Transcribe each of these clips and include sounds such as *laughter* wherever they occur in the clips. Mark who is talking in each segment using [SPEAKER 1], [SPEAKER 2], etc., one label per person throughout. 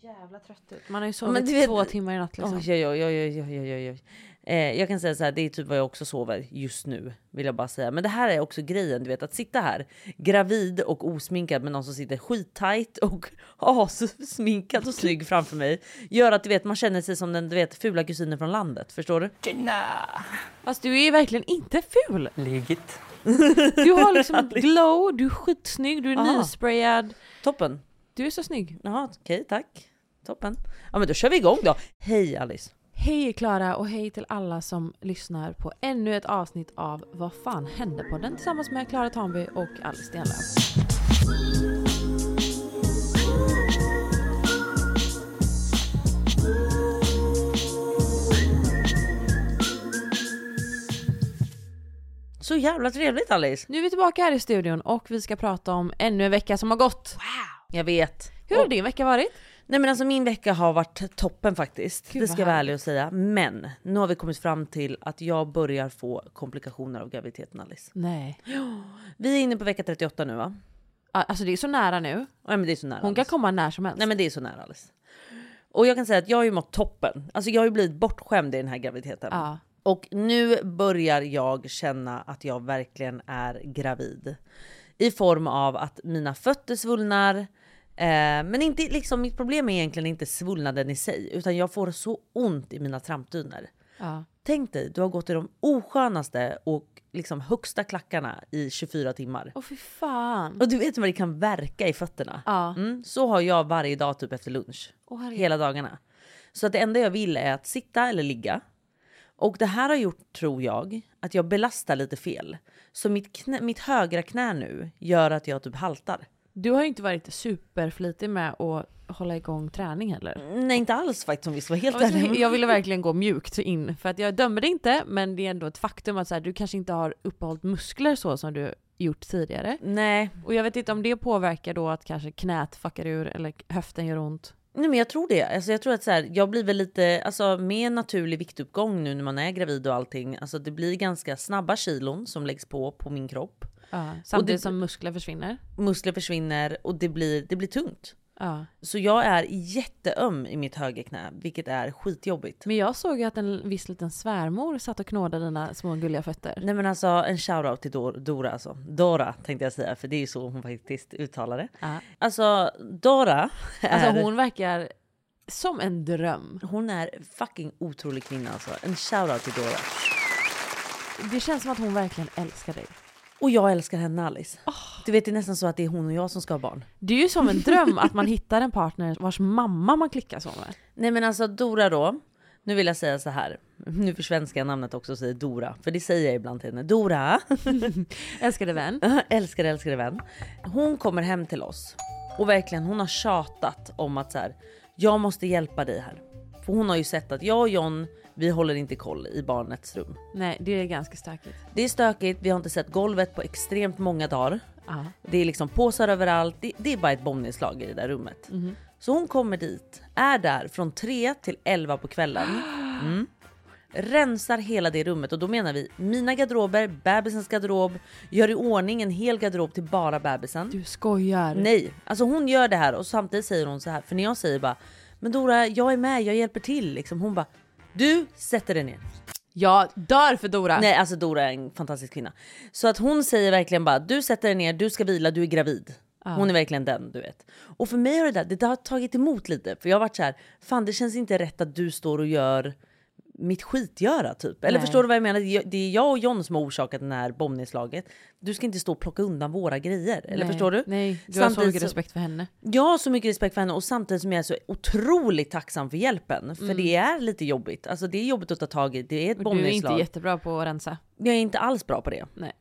[SPEAKER 1] jävla trött ut. Man har ju
[SPEAKER 2] Ja, men
[SPEAKER 1] sovit
[SPEAKER 2] du vet-
[SPEAKER 1] två timmar i natt liksom.
[SPEAKER 2] Oj, oj, oj, oj, oj, oj, oj, oj. Eh, jag kan säga så här, det är typ vad jag också sover just nu. Vill jag bara säga. Men det här är också grejen, du vet att sitta här gravid och osminkad med någon som sitter skittajt och *laughs* assminkad och snygg framför mig. Gör att du vet, man känner sig som den du vet, fula kusinen från landet. Förstår du?
[SPEAKER 1] Fast du är ju verkligen inte ful.
[SPEAKER 3] Legit.
[SPEAKER 1] Du har liksom ett glow, du är skitsnygg, du är
[SPEAKER 2] Aha.
[SPEAKER 1] nysprayad.
[SPEAKER 2] Toppen.
[SPEAKER 1] Du är så snygg.
[SPEAKER 2] Jaha, okej, tack. Toppen. Ja, men då kör vi igång då. Hej Alice.
[SPEAKER 1] Hej Klara och hej till alla som lyssnar på ännu ett avsnitt av Vad fan hände på den tillsammans med Klara Tanby och Alice Stenlöf.
[SPEAKER 2] Så jävla trevligt Alice.
[SPEAKER 1] Nu är vi tillbaka här i studion och vi ska prata om ännu en vecka som har gått.
[SPEAKER 2] Jag vet.
[SPEAKER 1] Hur har din vecka varit?
[SPEAKER 2] Nej men alltså min vecka har varit toppen faktiskt.
[SPEAKER 1] Gud,
[SPEAKER 2] det
[SPEAKER 1] vad
[SPEAKER 2] ska jag vara
[SPEAKER 1] härligt.
[SPEAKER 2] ärlig och säga. Men nu har vi kommit fram till att jag börjar få komplikationer av graviditeten Alice.
[SPEAKER 1] Nej.
[SPEAKER 2] Vi är inne på vecka 38 nu va?
[SPEAKER 1] Ja, Alltså det är så nära nu.
[SPEAKER 2] Nej men det är så nära.
[SPEAKER 1] Hon kan
[SPEAKER 2] Alice.
[SPEAKER 1] komma när som helst.
[SPEAKER 2] Nej men det är så nära Alice. Och jag kan säga att jag har ju mått toppen. Alltså jag har ju blivit bortskämd i den här graviditeten.
[SPEAKER 1] Ja.
[SPEAKER 2] Och nu börjar jag känna att jag verkligen är gravid. I form av att mina fötter svullnar. Eh, men inte, liksom, mitt problem är egentligen inte svullnaden i sig, utan jag får så ont i mina trampdyner.
[SPEAKER 1] Ja.
[SPEAKER 2] Tänk dig, du har gått i de oskönaste och liksom högsta klackarna i 24 timmar.
[SPEAKER 1] Åh fy fan.
[SPEAKER 2] Och du vet vad det kan verka i fötterna.
[SPEAKER 1] Ja.
[SPEAKER 2] Mm, så har jag varje dag typ efter lunch.
[SPEAKER 1] Åh, herregud.
[SPEAKER 2] hela dagarna. Så att det enda jag vill är att sitta eller ligga. Och det här har gjort, tror jag, att jag belastar lite fel. Så mitt, knä, mitt högra knä nu gör att jag typ haltar.
[SPEAKER 1] Du har ju inte varit superflitig med att hålla igång träning heller.
[SPEAKER 2] Nej, inte alls faktiskt om vi ska vara helt
[SPEAKER 1] Jag ville-
[SPEAKER 2] ärliga.
[SPEAKER 1] Jag ville verkligen gå mjukt in, för att jag dömer dig inte, men det är ändå ett faktum att så här, du kanske inte har uppehållit muskler så som du gjort
[SPEAKER 2] Mm.
[SPEAKER 1] tidigare.
[SPEAKER 2] Nej,
[SPEAKER 1] Och jag vet inte om det påverkar då att kanske knät fuckar ur eller höften gör ont.
[SPEAKER 2] nej, men jag tror det. Alltså, jag tror att så här, jag blir väl lite, alltså med naturlig viktuppgång nu när man är gravid och allting. Alltså det blir ganska snabba kilon som läggs på på min kropp.
[SPEAKER 1] Ja, samtidigt
[SPEAKER 2] det-
[SPEAKER 1] som muskler försvinner.
[SPEAKER 2] Muskler försvinner och det blir, det blir tungt.
[SPEAKER 1] Ja.
[SPEAKER 2] Så jag är jätteöm i mitt högerknä, vilket är skitjobbigt.
[SPEAKER 1] Men jag såg ju att en viss liten svärmor satt och knådade dina små gulliga fötter.
[SPEAKER 2] Nej men alltså en shoutout till Dor- Dora alltså. Dora tänkte jag säga för det är ju så hon faktiskt uttalar det.
[SPEAKER 1] Ja.
[SPEAKER 2] Alltså Dora är,
[SPEAKER 1] Alltså
[SPEAKER 2] hon...
[SPEAKER 1] hon verkar som en dröm.
[SPEAKER 2] är fucking otrolig kvinna alltså. En shoutout till Dora.
[SPEAKER 1] Det känns som att hon verkligen älskar dig.
[SPEAKER 2] Och jag älskar henne Alice. Du vet det är nästan så att det är hon och jag som ska ha barn.
[SPEAKER 1] Det är ju som en dröm att man hittar en partner vars mamma man klickar så med.
[SPEAKER 2] Nej men alltså Dora då. Nu vill jag säga så här. Nu försvenskar jag namnet också och säger Dora. För det säger jag ibland till henne. Dora.
[SPEAKER 1] Älskade vän.
[SPEAKER 2] *laughs* älskar älskade vän. Hon kommer hem till oss och verkligen hon har tjatat om att så här, jag måste hjälpa dig här. För hon har ju sett att jag och John, vi håller inte koll i barnets rum.
[SPEAKER 1] Nej, det är ganska stökigt.
[SPEAKER 2] Det är stökigt, vi har inte sett golvet på extremt många dagar.
[SPEAKER 1] Ja.
[SPEAKER 2] Det är liksom påsar överallt, det, det är bara ett bombnedslag i det där rummet. Så hon kommer dit, är där från 3 till 11 på kvällen. Mm. Rensar hela det rummet och då menar vi mina garderober, bebisens garderob, gör i ordning en hel garderob till bara bebisen.
[SPEAKER 1] Du skojar.
[SPEAKER 2] Nej, alltså hon gör det här och samtidigt säger hon så här. För när jag säger bara, men Dora jag är med, jag hjälper till. Liksom. Hon bara, du sätter dig ner.
[SPEAKER 1] Jag dör för Dora.
[SPEAKER 2] Nej alltså Dora är en fantastisk kvinna. Så att hon säger verkligen bara, du sätter dig ner, du ska vila, du är gravid. Hon är verkligen den du vet. Och för mig har det där, det där har tagit emot lite. För jag har varit så här, fan det känns inte rätt att du står och gör mitt skitgöra typ. Eller
[SPEAKER 1] Nej.
[SPEAKER 2] förstår du vad jag menar? Det är- Det är jag och John som har orsakat det här bombnedslaget. Du ska inte stå och plocka undan våra grejer. Eller
[SPEAKER 1] Nej.
[SPEAKER 2] förstår du?
[SPEAKER 1] Nej, du har så
[SPEAKER 2] Samtidigt
[SPEAKER 1] mycket respekt för henne.
[SPEAKER 2] Jag har så mycket respekt för henne och samtidigt som jag är så otroligt tacksam för hjälpen. För det är lite jobbigt. Alltså det är jobbigt att ta tag i. Det är ett
[SPEAKER 1] Mm. Och du är inte
[SPEAKER 2] bombnedslag.
[SPEAKER 1] jättebra på att rensa.
[SPEAKER 2] Jag är inte alls bra på det.
[SPEAKER 1] Nej.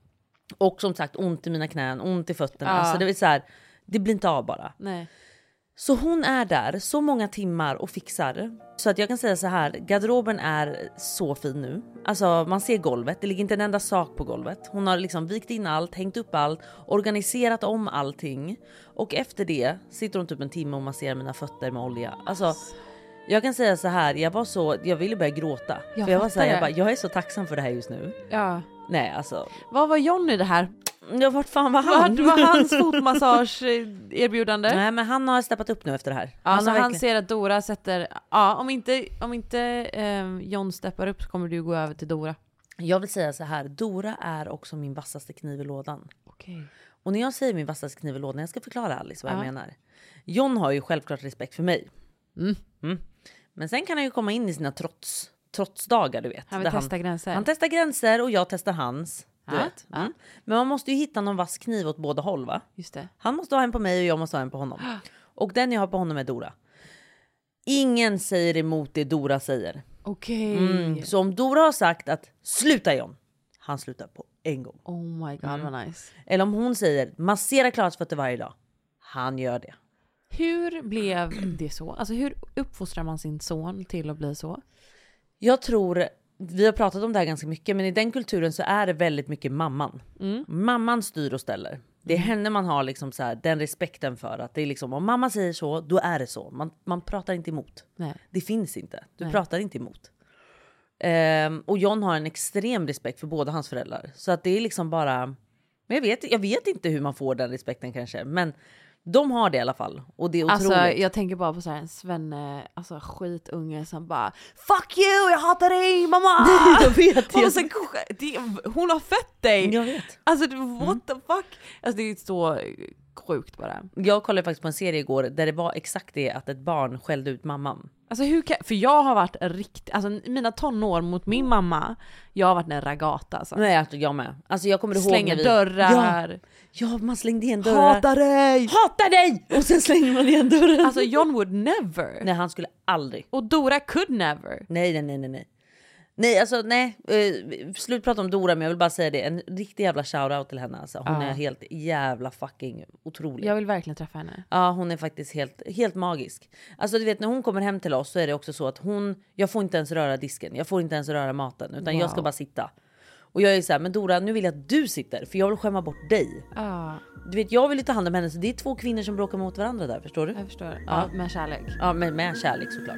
[SPEAKER 2] Och som sagt ont i mina knän, ont i fötterna.
[SPEAKER 1] Ja.
[SPEAKER 2] Alltså det, är så här, det blir inte av bara.
[SPEAKER 1] Nej.
[SPEAKER 2] Så hon är där så många timmar och fixar. Så att jag kan säga så här, garderoben är så fin nu. Alltså man ser golvet, det ligger inte en enda sak på golvet. Hon har liksom vikt in allt, hängt upp allt, organiserat om allting. Och efter det sitter hon typ en timme och masserar mina fötter med olja. Alltså jag kan säga så här, jag var så, jag ville börja gråta.
[SPEAKER 1] Jag
[SPEAKER 2] för jag var så här,
[SPEAKER 1] fattar
[SPEAKER 2] jag,
[SPEAKER 1] det.
[SPEAKER 2] bara, jag är så tacksam för det här just nu.
[SPEAKER 1] Ja.
[SPEAKER 2] Nej alltså.
[SPEAKER 1] Vad var John i det här?
[SPEAKER 2] Ja vart fan var han?
[SPEAKER 1] Vart var hans fotmassageerbjudande?
[SPEAKER 2] Nej men han har steppat upp nu efter det här.
[SPEAKER 1] Ja,
[SPEAKER 2] Alltså,
[SPEAKER 1] när han
[SPEAKER 2] verkligen.
[SPEAKER 1] ser att Dora sätter, ja om inte, om inte eh, John steppar upp så kommer du gå över till Dora.
[SPEAKER 2] Jag vill säga så här, Dora är också min vassaste kniv i lådan.
[SPEAKER 1] Okej.
[SPEAKER 2] Och när jag säger min vassaste kniv i lådan, jag ska förklara Alice vad
[SPEAKER 1] Ja.
[SPEAKER 2] jag menar. John har ju självklart respekt för mig.
[SPEAKER 1] Mm.
[SPEAKER 2] Men sen kan han ju komma in i sina trots, trotsdagar du vet.
[SPEAKER 1] Han vill
[SPEAKER 2] där
[SPEAKER 1] testa gränser.
[SPEAKER 2] han testar gränser och jag testar hans. Du
[SPEAKER 1] Ja,
[SPEAKER 2] vet.
[SPEAKER 1] ja.
[SPEAKER 2] Mm. Men man måste ju hitta någon vass kniv åt båda håll va?
[SPEAKER 1] Just det.
[SPEAKER 2] Han måste ha en på mig och jag måste ha en på honom. *gasps* Och den jag har på honom är Dora. Ingen säger emot det Dora säger.
[SPEAKER 1] Okej.
[SPEAKER 2] Mm. Så om Dora har sagt att sluta John, han slutar på en gång.
[SPEAKER 1] Oh my god vad nice.
[SPEAKER 2] Eller om hon säger massera Klaras fötter varje dag, han gör det.
[SPEAKER 1] Hur blev det så? Alltså hur uppfostrar man sin son till att bli så?
[SPEAKER 2] Jag tror, vi har pratat om det här ganska mycket, men i den kulturen så är det väldigt mycket mamman. Mamman styr och ställer. Det är henne man har liksom så här, den respekten för. att det är liksom, Om mamma säger så, då är det så. Man, man pratar inte emot.
[SPEAKER 1] Nej.
[SPEAKER 2] Det finns inte. Du
[SPEAKER 1] Nej.
[SPEAKER 2] pratar inte emot. Ehm, och John har en extrem respekt för båda hans föräldrar. Så att det är liksom bara... Men jag vet, jag vet inte hur man får den respekten kanske. Men de har det i alla fall. Och det är otroligt.
[SPEAKER 1] Alltså jag tänker bara på så här en svenne, alltså skitunge som bara Fuck you, jag hatar dig mamma!
[SPEAKER 2] *laughs* jag vet.
[SPEAKER 1] Hon,
[SPEAKER 2] Jag,
[SPEAKER 1] har så, det, hon har fött dig!
[SPEAKER 2] jag vet.
[SPEAKER 1] Alltså det- what the fuck? Alltså det är så sjukt bara.
[SPEAKER 2] Jag kollade faktiskt på en serie igår där det var exakt det att ett barn skällde ut mamman.
[SPEAKER 1] Alltså hur kan, för jag har varit riktigt, alltså mina tonår mot min mamma, jag har varit en ragata alltså.
[SPEAKER 2] Nej, alltså jag med. Alltså jag kommer ihåg
[SPEAKER 1] Slänger
[SPEAKER 2] när vi... Ja,
[SPEAKER 1] dörrar,
[SPEAKER 2] ja, man slängde igen dörrar.
[SPEAKER 1] hatar dig!
[SPEAKER 2] Hatar dig! Och sen slänger man igen dörren.
[SPEAKER 1] Alltså John would never.
[SPEAKER 2] Nej, han skulle aldrig.
[SPEAKER 1] Och Dora could never.
[SPEAKER 2] Nej, nej, nej, nej, nej. Nej, alltså nej. Eh, slut prata om Dora, men jag vill bara säga det. En riktig jävla shoutout till henne. Alltså. Hon
[SPEAKER 1] Ja.
[SPEAKER 2] är helt jävla fucking otrolig.
[SPEAKER 1] Jag vill verkligen träffa henne.
[SPEAKER 2] Ja, hon är faktiskt helt, helt magisk. Alltså, du vet, när hon kommer hem till oss så är det också så att hon... Jag får inte ens röra disken. Jag får inte ens röra maten, utan jag ska
[SPEAKER 1] Wow.
[SPEAKER 2] bara sitta. Och jag är så här, men Dora, nu vill jag att du sitter för jag vill skämma bort dig.
[SPEAKER 1] Ja,
[SPEAKER 2] Du vet, jag vill ju ta hand om henne så det är två kvinnor som bråkar mot varandra där, förstår du?
[SPEAKER 1] jag förstår. Ja, med kärlek.
[SPEAKER 2] Ja, men med kärlek såklart.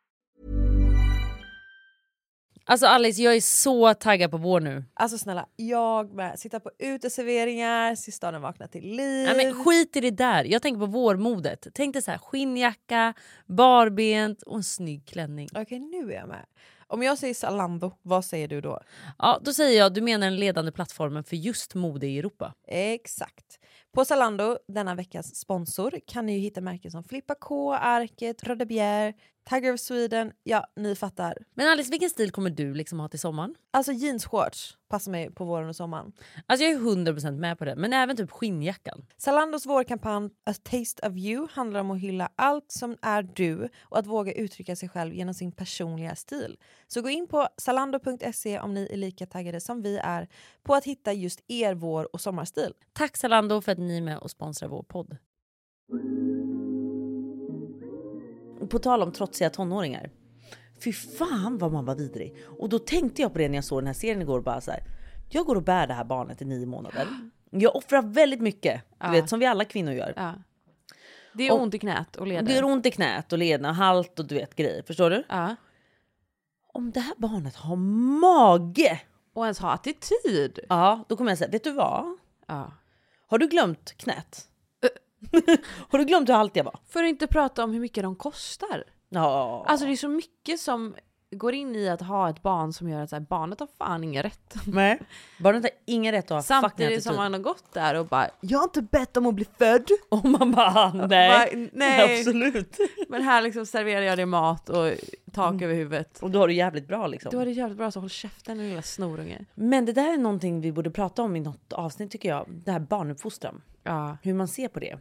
[SPEAKER 2] Alltså Alice, jag är så taggad på vår nu.
[SPEAKER 4] Alltså snälla, jag med. Sitta på uteserveringar, sista dagen vakna till liv.
[SPEAKER 2] Nej, men skit i det där. Jag tänker på vårmodet. Tänk dig så här, skinnjacka, barbent och en snygg klänning.
[SPEAKER 4] Okej, nu är jag med. Om jag säger Zalando, vad säger du då?
[SPEAKER 2] Ja, då säger jag du menar den ledande plattformen för just mode i Europa.
[SPEAKER 4] Exakt. På Zalando, denna veckans sponsor, kan ni ju hitta märken som Flippa K, Arket, Röda Bjer, Tiger of Sweden. Ja, ni fattar.
[SPEAKER 2] Men Alice, vilken stil kommer du liksom ha till sommaren?
[SPEAKER 4] Alltså jeansshorts passar mig på våren och sommaren.
[SPEAKER 2] Alltså jag är 100% med på det, men även typ skinnjackan.
[SPEAKER 4] Zalandos vårkampanj A Taste of You handlar om att hylla allt som är du och att våga uttrycka sig själv genom sin personliga stil. Så gå in på zalando.se om ni är lika taggade som vi är på att hitta just er vår och sommarstil.
[SPEAKER 2] Tack Zalando för att ni är med och sponsrar vår podd. På tal om trotsiga tonåringar. Fy fan vad man var vidrig. Och då tänkte jag på det när jag såg den här serien igår. Bara så här, jag går och bär det här barnet i nio månader. Jag offrar väldigt mycket, du vet, som vi alla kvinnor gör.
[SPEAKER 1] Ja. Det är
[SPEAKER 2] Och-
[SPEAKER 1] ont i knät och leder.
[SPEAKER 2] Det gör ont i knät och lederna och halt och du vet grejer. Förstår du?
[SPEAKER 1] Ja.
[SPEAKER 2] Om det här barnet har mage.
[SPEAKER 1] Och ens ha attityd.
[SPEAKER 2] Ja, då kommer jag säga, vet du vad?
[SPEAKER 1] Ja.
[SPEAKER 2] Har du glömt knät? *laughs* har du glömt hur halt jag var?
[SPEAKER 1] För att inte prata om hur mycket de kostar.
[SPEAKER 2] Ja.
[SPEAKER 1] Alltså det är så mycket som går in i att ha ett barn som gör att så här, barnet har fan ingen rätt.
[SPEAKER 2] Nej. Barnet har ingen rätt att ha fucking
[SPEAKER 1] Samtidigt
[SPEAKER 2] attityd.
[SPEAKER 1] som man har gått där och bara
[SPEAKER 2] Jag har inte bett om att bli född. *laughs* Och man bara "Ah, *laughs* nej.
[SPEAKER 1] Va- nej.
[SPEAKER 2] *laughs* Absolut.
[SPEAKER 1] Men här liksom serverar jag dig mat och tak över huvudet.
[SPEAKER 2] Och då har du jävligt bra liksom.
[SPEAKER 1] Mm. Du har det jävligt bra så håll käften din lilla snorunge.
[SPEAKER 2] Men det där är någonting vi borde prata om i något avsnitt tycker jag. Det här barnuppfostran.
[SPEAKER 1] Ja.
[SPEAKER 2] Hur man ser på *gasps* det.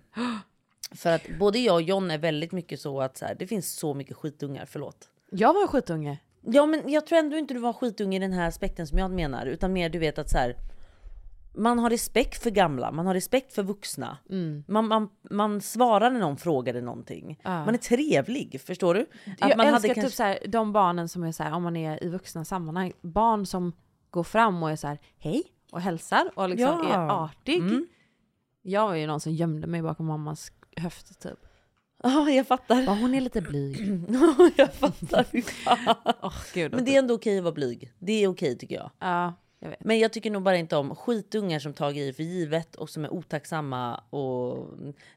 [SPEAKER 2] För att både jag och John är väldigt mycket så att så här, det finns så mycket skitungar, förlåt.
[SPEAKER 1] Jag var en skitunge.
[SPEAKER 2] Ja men jag tror ändå inte du var skitung i den här aspekten som jag menar. Utan mer du vet att så här. Man har respekt för gamla, man har respekt för vuxna.
[SPEAKER 1] Mm.
[SPEAKER 2] Man, man, man svarar när någon frågade någonting. Man är trevlig, förstår du?
[SPEAKER 1] jag
[SPEAKER 2] man
[SPEAKER 1] älskar typ så här, de barnen som är så här, om man är i vuxna sammanhang, barn som går fram och är så här, hej och hälsar och liksom
[SPEAKER 2] Ja. Mm.
[SPEAKER 1] är artig. Jag var ju någon som gömde mig bakom mammas höft typ.
[SPEAKER 2] Ja, jag fattar.
[SPEAKER 1] Bara, hon är lite blyg.
[SPEAKER 2] *laughs*
[SPEAKER 1] *laughs*
[SPEAKER 2] jag fattar, fy fan.
[SPEAKER 1] Åh gud.
[SPEAKER 2] Men det är ändå okej att vara blyg. Det är okej tycker jag.
[SPEAKER 1] typ. Ja, jag vet.
[SPEAKER 2] Men jag tycker nog bara inte om skitungar som tagit i för givet och som är otacksamma och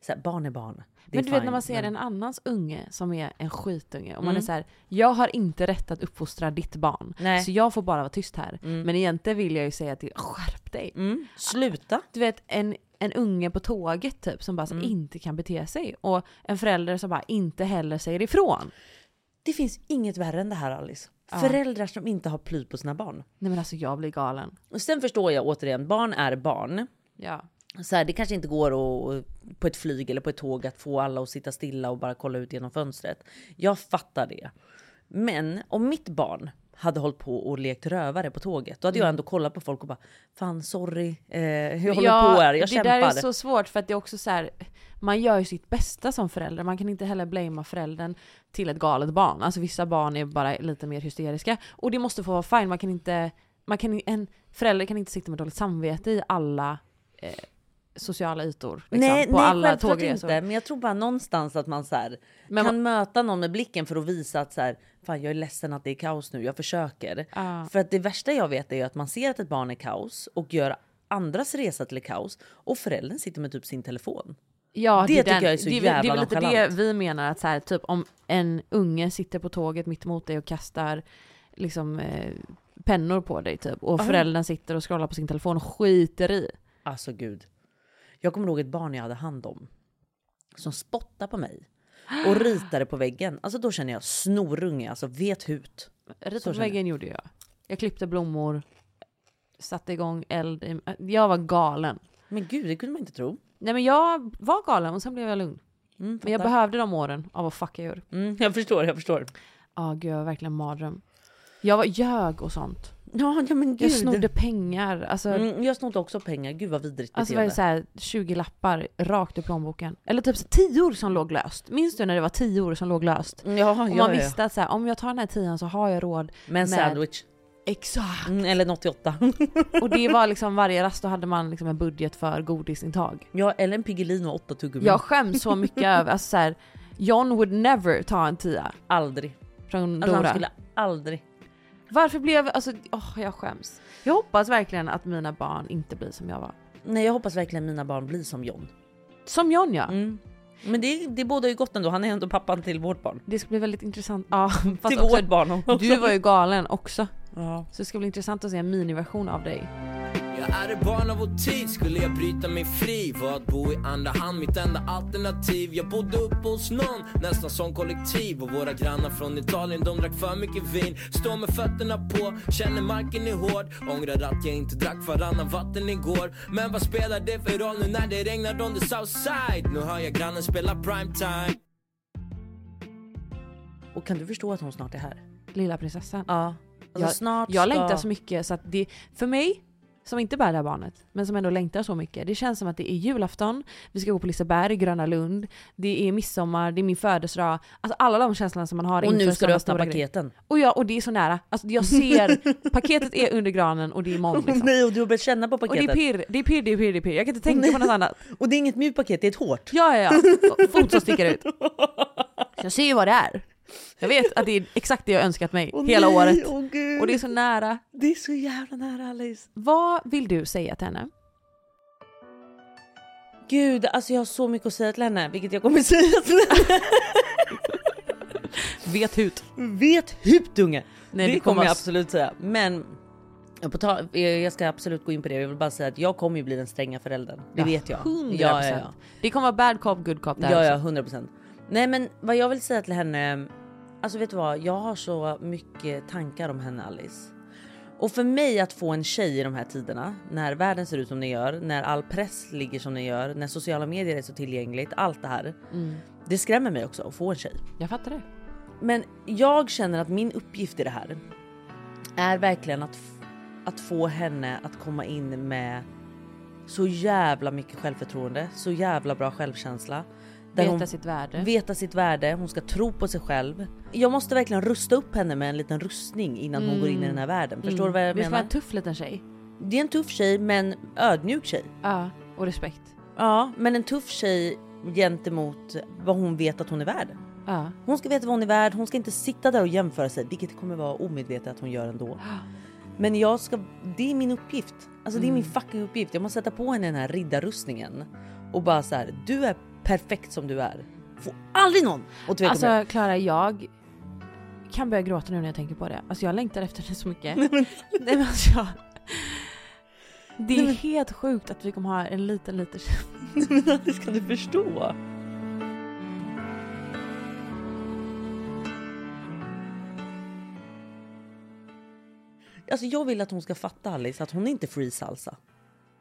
[SPEAKER 2] så här, barn är barn. Det är
[SPEAKER 1] Men du vet
[SPEAKER 2] fine,
[SPEAKER 1] när man ser
[SPEAKER 2] men- Mm.
[SPEAKER 1] en annans unge som är en skitunge och man är så här, jag har inte rätt att uppfostra ditt barn.
[SPEAKER 2] Nej.
[SPEAKER 1] Så jag får bara vara tyst här. Men egentligen vill jag ju säga till, skärp dig.
[SPEAKER 2] Mm. Sluta!
[SPEAKER 1] Du vet en, en unge på tåget typ som bara
[SPEAKER 2] Mm.
[SPEAKER 1] så, inte kan bete sig. Och en förälder som bara inte heller säger ifrån.
[SPEAKER 2] Det finns inget värre än det här Alice. Föräldrar som inte har ply på sina barn.
[SPEAKER 1] Nej men alltså jag blir galen.
[SPEAKER 2] Och sen förstår jag återigen, barn är barn.
[SPEAKER 1] Ja.
[SPEAKER 2] Så här, det kanske inte går att, på ett flyg eller på ett tåg att få alla att sitta stilla och bara kolla ut genom fönstret. Jag fattar det. Men om mitt barn hade hållit på och lekt rövare på tåget, då hade
[SPEAKER 1] Mm.
[SPEAKER 2] jag ändå kollat på folk och bara “Fan sorry, eh, jag håller på här, jag
[SPEAKER 1] det
[SPEAKER 2] kämpar”.
[SPEAKER 1] där är så svårt för att det är också så här, man gör ju sitt bästa som förälder. Man kan inte heller blamea föräldern till ett galet barn. Alltså vissa barn är bara lite mer hysteriska. Och det måste få vara fine. Man kan inte, man kan, en förälder kan inte sitta med dåligt samvete i alla eh, sociala ytor. Liksom,
[SPEAKER 2] nej,
[SPEAKER 1] på
[SPEAKER 2] nej
[SPEAKER 1] alla
[SPEAKER 2] självklart
[SPEAKER 1] tågresor.
[SPEAKER 2] inte. Men jag tror bara någonstans att man så här,
[SPEAKER 1] Men
[SPEAKER 2] kan möta någon med blicken för att visa att så här, fan jag är ledsen att det är kaos nu, jag försöker.
[SPEAKER 1] Ja.
[SPEAKER 2] För att det värsta jag vet är ju att man ser att ett barn är kaos och gör andras resa till kaos och föräldern sitter med typ sin telefon.
[SPEAKER 1] Ja,
[SPEAKER 2] Det
[SPEAKER 1] är
[SPEAKER 2] tycker jag är så
[SPEAKER 1] det, väl- Det är
[SPEAKER 2] jävla
[SPEAKER 1] väl lite det
[SPEAKER 2] nonchalant.
[SPEAKER 1] vi menar att så här, typ om en unge sitter på tåget mitt emot dig och kastar liksom eh, pennor på dig typ och föräldern sitter och scrollar på sin telefon och skiter i.
[SPEAKER 2] Alltså gud. Jag kommer ihåg ett barn jag hade hand om som spottade på mig
[SPEAKER 1] *gasps*
[SPEAKER 2] och ritade på väggen. Alltså då känner jag snorunge, alltså vet hut.
[SPEAKER 1] Ritade
[SPEAKER 2] Så
[SPEAKER 1] på
[SPEAKER 2] känner
[SPEAKER 1] väggen gjorde jag. Jag klippte blommor, satte igång eld. i- Jag var galen.
[SPEAKER 2] Men gud, det kunde man inte tro.
[SPEAKER 1] Nej men jag var galen och sen blev jag lugn.
[SPEAKER 2] Mm,
[SPEAKER 1] Men jag
[SPEAKER 2] fattar.
[SPEAKER 1] behövde de åren av att fucka ur.
[SPEAKER 2] mm, jag förstår, jag förstår.
[SPEAKER 1] Ja gud jag var verkligen en mardröm. Jag var ljög och sånt.
[SPEAKER 2] Ja, ja men gud.
[SPEAKER 1] Jag snodde pengar. Alltså,
[SPEAKER 2] Mm, jag snodde också pengar. Gud vad vidrigt
[SPEAKER 1] Alltså var det
[SPEAKER 2] beteende.
[SPEAKER 1] så här 20 lappar rakt ur plånboken. Eller typ så här 10 år som låg löst. Minns du när det var 10 år som låg löst?
[SPEAKER 2] ja,
[SPEAKER 1] Och
[SPEAKER 2] ja,
[SPEAKER 1] man
[SPEAKER 2] ja.
[SPEAKER 1] visste att så här, om jag tar den här 10 så har jag råd.
[SPEAKER 2] Med
[SPEAKER 1] med-
[SPEAKER 2] en sandwich.
[SPEAKER 1] Exakt!
[SPEAKER 2] Mm, eller en 88.
[SPEAKER 1] Och det var liksom varje rast, då hade man liksom en budget för godisintag.
[SPEAKER 2] *laughs* ja, eller en Piggelin och 8 tuggummin.
[SPEAKER 1] Jag skäms så mycket över, alltså så här, John would never ta en 10
[SPEAKER 2] Aldrig.
[SPEAKER 1] från
[SPEAKER 2] Alltså
[SPEAKER 1] Dora.
[SPEAKER 2] han skulle aldrig.
[SPEAKER 1] Varför blev, alltså åh jag skäms. Jag hoppas verkligen att mina barn inte blir som jag var.
[SPEAKER 2] Nej, jag hoppas verkligen mina barn blir som John. Mm.
[SPEAKER 1] Som John ja.
[SPEAKER 2] Men det, det båda ju gott ändå. Han är ändå pappan till vårt barn.
[SPEAKER 1] Det ska bli väldigt intressant. Ja, *laughs* fast
[SPEAKER 2] till
[SPEAKER 1] också,
[SPEAKER 2] vårt barn också.
[SPEAKER 1] du var ju galen också.
[SPEAKER 2] Ja.
[SPEAKER 1] Så det ska bli intressant att se en miniversion av dig.
[SPEAKER 5] Jag är ett barn av vår tid, skulle jag bryta mig fri var att bo i andra hand mitt enda alternativ Jag bodde uppe hos någon, nästan som kollektiv Och våra grannar från Italien, de drack för mycket vin Står med fötterna på, känner marken är hård Ångrar att jag inte drack varannan vatten igår Men vad spelar det för roll nu när det regnar on the south side? Nu hör jag grannen spela primetime
[SPEAKER 2] Och kan du förstå att hon snart är här?
[SPEAKER 1] Lilla prinsessan.
[SPEAKER 2] Ja. Alltså,
[SPEAKER 1] jag
[SPEAKER 2] snart
[SPEAKER 1] jag
[SPEAKER 2] ska...
[SPEAKER 1] längtar så mycket så att det, för mig som inte bär det här barnet, men som ändå längtar så mycket. Det känns som att det är julafton, vi ska gå på Liseberg, Gröna Lund, det är midsommar, det är min födelsedag. Alltså alla de känslorna som man har
[SPEAKER 2] Och nu
[SPEAKER 1] inför
[SPEAKER 2] ska du
[SPEAKER 1] sådana
[SPEAKER 2] öppna
[SPEAKER 1] stora grejer.
[SPEAKER 2] paketen.
[SPEAKER 1] Och, ja, och det är så nära. Alltså jag
[SPEAKER 2] *laughs*
[SPEAKER 1] ser, paketet är under granen och det är imorgon
[SPEAKER 2] Åh
[SPEAKER 1] liksom.
[SPEAKER 2] *laughs* nej, och du har börjat känna på
[SPEAKER 1] Och det
[SPEAKER 2] paketet.
[SPEAKER 1] är pirr, det är pirr, det är pirr, det är pirr. Jag kan inte tänka
[SPEAKER 2] *laughs*
[SPEAKER 1] på något annat.
[SPEAKER 2] Och det är inget mjukt paket, det är ett hårt.
[SPEAKER 1] Ja, ja, ja. Fot som sticker ut. Så jag ser ju vad det är. Jag vet att det är exakt det jag önskat mig
[SPEAKER 2] *laughs* Åh
[SPEAKER 1] hela
[SPEAKER 2] nej,
[SPEAKER 1] året.
[SPEAKER 2] Åh gud.
[SPEAKER 1] Och det är så nära.
[SPEAKER 2] det är så jävla nära Alice.
[SPEAKER 1] Vad vill du säga till henne?
[SPEAKER 2] Gud, alltså jag har så mycket att säga till henne, vilket jag kommer *laughs* säga till henne.
[SPEAKER 1] Vet hut.
[SPEAKER 2] Vet hut unge!
[SPEAKER 1] Nej,
[SPEAKER 2] det
[SPEAKER 1] det
[SPEAKER 2] kommer
[SPEAKER 1] kommer
[SPEAKER 2] jag
[SPEAKER 1] s-
[SPEAKER 2] absolut säga. Men ja, på ta- eh, jag ska absolut gå in på det. Jag vill bara säga att jag kommer ju bli den stränga föräldern. Det vet jag.
[SPEAKER 1] 100%.
[SPEAKER 2] Ja, ja, ja.
[SPEAKER 1] Det kommer vara bad cop, good cop där
[SPEAKER 2] Ja, ja,
[SPEAKER 1] också.
[SPEAKER 2] 100 procent. Nej, men vad jag vill säga till henne. Alltså, vet du vad? Jag har så mycket tankar om henne Alice. Och för mig att få en tjej i de här tiderna, när världen ser ut som den gör, när all press ligger som den gör, när sociala medier är så tillgängligt, allt det här. Det skrämmer mig också att få en tjej.
[SPEAKER 1] Mm. Jag fattar det.
[SPEAKER 2] Men jag känner att min uppgift i det här är verkligen att, f- att få henne att komma in med så jävla mycket självförtroende, så jävla bra självkänsla. Där
[SPEAKER 1] Veta
[SPEAKER 2] hon
[SPEAKER 1] sitt värde.
[SPEAKER 2] Veta sitt värde, hon ska tro på sig själv. Jag måste verkligen rusta upp henne med en liten rustning innan hon går in i den här världen. Förstår du vad jag
[SPEAKER 1] Mm. Det ska vara
[SPEAKER 2] menar?
[SPEAKER 1] en tuff liten tjej.
[SPEAKER 2] Det är en tuff tjej men ödmjuk tjej.
[SPEAKER 1] Ja, och respekt.
[SPEAKER 2] Ja, men en tuff tjej gentemot vad hon vet att hon är värd.
[SPEAKER 1] Ja.
[SPEAKER 2] Hon ska veta vad hon är värd, hon ska inte sitta där och jämföra sig, vilket kommer vara omedvetet att hon gör ändå. Men jag ska, det är min uppgift. Alltså det är
[SPEAKER 1] Mm.
[SPEAKER 2] min fucking uppgift. Jag måste sätta på henne den här riddarrustningen och bara så här, du är perfekt som du är. Får aldrig någon att tveka om det.
[SPEAKER 1] Alltså Klara, jag kan börja gråta nu när jag tänker på det. Alltså jag längtar efter det så
[SPEAKER 2] *laughs*
[SPEAKER 1] mycket. Nej men alltså jag... Det är helt sjukt att vi kommer ha en liten, liten tjej.
[SPEAKER 2] Men Alice kan du förstå? Alltså jag vill att hon ska fatta Alice att hon är inte free salsa.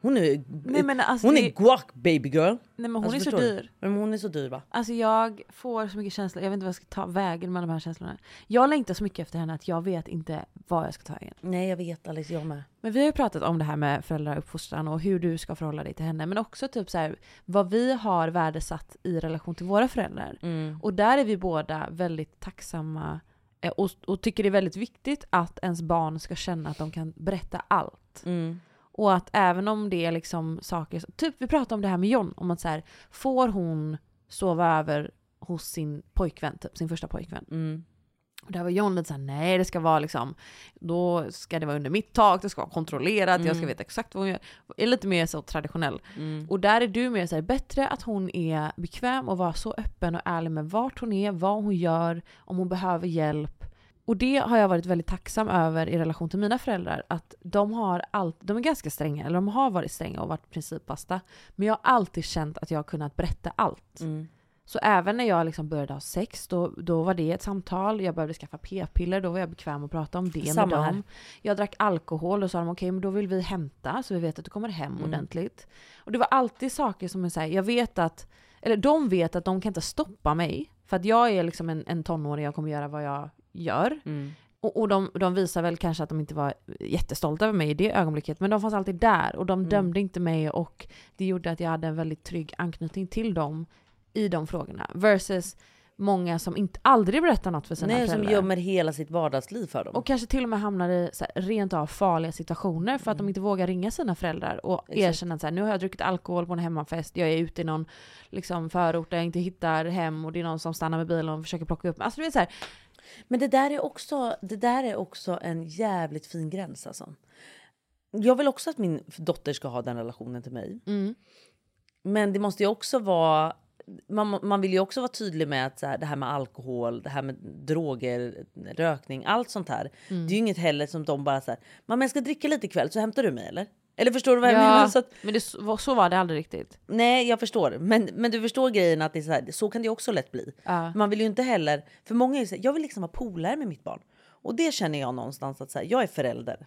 [SPEAKER 2] Hon är,
[SPEAKER 1] Nej, men alltså,
[SPEAKER 2] hon
[SPEAKER 1] det-
[SPEAKER 2] är guac baby girl.
[SPEAKER 1] Nej men hon
[SPEAKER 2] Alltså,
[SPEAKER 1] är så
[SPEAKER 2] förstår du?
[SPEAKER 1] dyr.
[SPEAKER 2] Men hon är så dyr va?
[SPEAKER 1] Alltså jag får så mycket känslor, jag vet inte vad jag ska ta vägen med de här känslorna. Jag längtar så mycket efter henne att jag vet inte vad jag ska ta vägen.
[SPEAKER 2] Nej jag vet Alice jag med.
[SPEAKER 1] Men vi har ju pratat om det här med föräldrar och uppfostran och hur du ska förhålla dig till henne. Men också typ så här, vad vi har värdesatt i relation till våra föräldrar.
[SPEAKER 2] Mm.
[SPEAKER 1] Och där är vi båda väldigt tacksamma eh, och, och tycker det är väldigt viktigt att ens barn ska känna att de kan berätta allt.
[SPEAKER 2] Mm.
[SPEAKER 1] Och att även om det är liksom saker, typ vi pratade om det här med John, om att så här, får hon sova över hos sin pojkvän, typ, sin första pojkvän. Och där var John lite såhär, nej det ska vara liksom, då ska det vara under mitt tak, det ska vara kontrollerat, jag ska veta exakt vad hon gör. Är lite mer så traditionell. Och där är du mer såhär, bättre att hon är bekväm och vara så öppen och ärlig med vart hon är, vad hon gör, om hon behöver hjälp. Och det har jag varit väldigt tacksam över i relation till mina föräldrar. Att de har allt, de är ganska stränga, eller de har varit stränga och varit principfasta. Men jag har alltid känt att jag har kunnat berätta allt.
[SPEAKER 2] Mm.
[SPEAKER 1] Så även när jag liksom började ha sex, då, då var det ett samtal. Jag behövde skaffa p-piller, då var jag bekväm att prata om det
[SPEAKER 2] Samma
[SPEAKER 1] med dem.
[SPEAKER 2] här.
[SPEAKER 1] Jag drack alkohol och sa de okej men då vill vi hämta så vi vet att du kommer hem
[SPEAKER 2] Mm.
[SPEAKER 1] ordentligt. Och det var alltid saker som är såhär, jag vet att, eller de vet att de kan inte stoppa mig. För att jag är liksom en, en tonåring, jag kommer göra vad jag gör.
[SPEAKER 2] Mm.
[SPEAKER 1] Och, och de, de visar väl kanske att de inte var jättestolta över mig i det ögonblicket, men de fanns alltid där och de
[SPEAKER 2] Mm.
[SPEAKER 1] dömde inte mig och det gjorde att jag hade en väldigt trygg anknytning till dem i de frågorna. Versus många som inte, aldrig berättar något för sina
[SPEAKER 2] Nej som
[SPEAKER 1] föräldrar.
[SPEAKER 2] gömmer hela sitt vardagsliv för dem.
[SPEAKER 1] Och kanske till och med hamnar i så här, rent av farliga situationer för att
[SPEAKER 2] Mm.
[SPEAKER 1] de inte vågar ringa sina föräldrar och erkänna att så här, nu har jag druckit alkohol på en hemmafest, jag är ute i någon liksom, förort där jag inte hittar hem och det är någon som stannar med bilen och försöker plocka upp mig. Alltså, du vet, så här,
[SPEAKER 2] Men det där, är också, det där är också en jävligt fin gräns. Alltså. Jag vill också att min dotter ska ha den relationen till mig. Men det måste ju också vara... Man, man vill ju också vara tydlig med att så här, det här med alkohol, det här med droger, rökning, allt sånt här. Det är ju inget heller som de bara så här, mamma jag ska dricka lite ikväll så hämtar du mig eller? Eller förstår du vad jag menar?
[SPEAKER 1] ja,
[SPEAKER 2] Så att,
[SPEAKER 1] men det, så så var det aldrig riktigt.
[SPEAKER 2] Nej, jag förstår. Men, men du förstår grejen att det är så, här, så kan det också lätt bli. Man vill ju inte heller... För många är ju så här, jag vill liksom vara polare med mitt barn. Och det känner jag någonstans att så här, jag är förälder.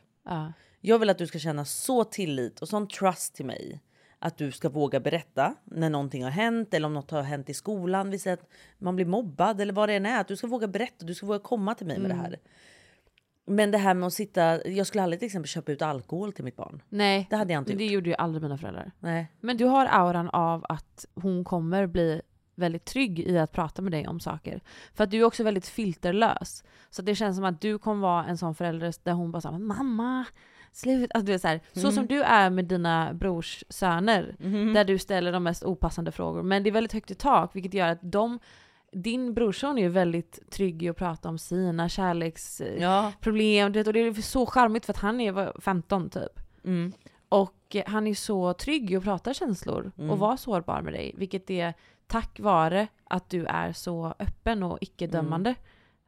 [SPEAKER 2] Jag vill att du ska känna så tillit och sån trust till mig. Att du ska våga berätta när någonting har hänt eller om något har hänt i skolan. Vi säger
[SPEAKER 1] Mm.
[SPEAKER 2] att man blir mobbad eller vad det än är. Att du ska våga berätta, du ska våga komma till mig med det här. Men det här med att sitta, jag skulle aldrig till exempel köpa ut alkohol till mitt barn.
[SPEAKER 1] Nej,
[SPEAKER 2] Det hade jag inte
[SPEAKER 1] det
[SPEAKER 2] gjort.
[SPEAKER 1] gjorde ju aldrig mina föräldrar.
[SPEAKER 2] Nej.
[SPEAKER 1] Men du har auran av att hon kommer bli väldigt trygg i att prata med dig om saker. För att du är också väldigt filterlös. Så det känns som att du kommer vara en sån förälder där hon bara såhär “mamma, slut”. Alltså, du är så, här,
[SPEAKER 2] Mm.
[SPEAKER 1] så som du är med dina brors söner,
[SPEAKER 2] *laughs*
[SPEAKER 1] där du ställer de mest opassande frågor. Men det är väldigt högt i tak, vilket gör att de din brorson är ju väldigt trygg i att prata om sina kärleksproblem.
[SPEAKER 2] Ja.
[SPEAKER 1] du vet, Och det är så charmigt för att han är vad, 15 typ.
[SPEAKER 2] Mm.
[SPEAKER 1] Och eh, han är så trygg i att prata känslor och vara sårbar med dig. Vilket är tack vare att du är så öppen och icke-dömande.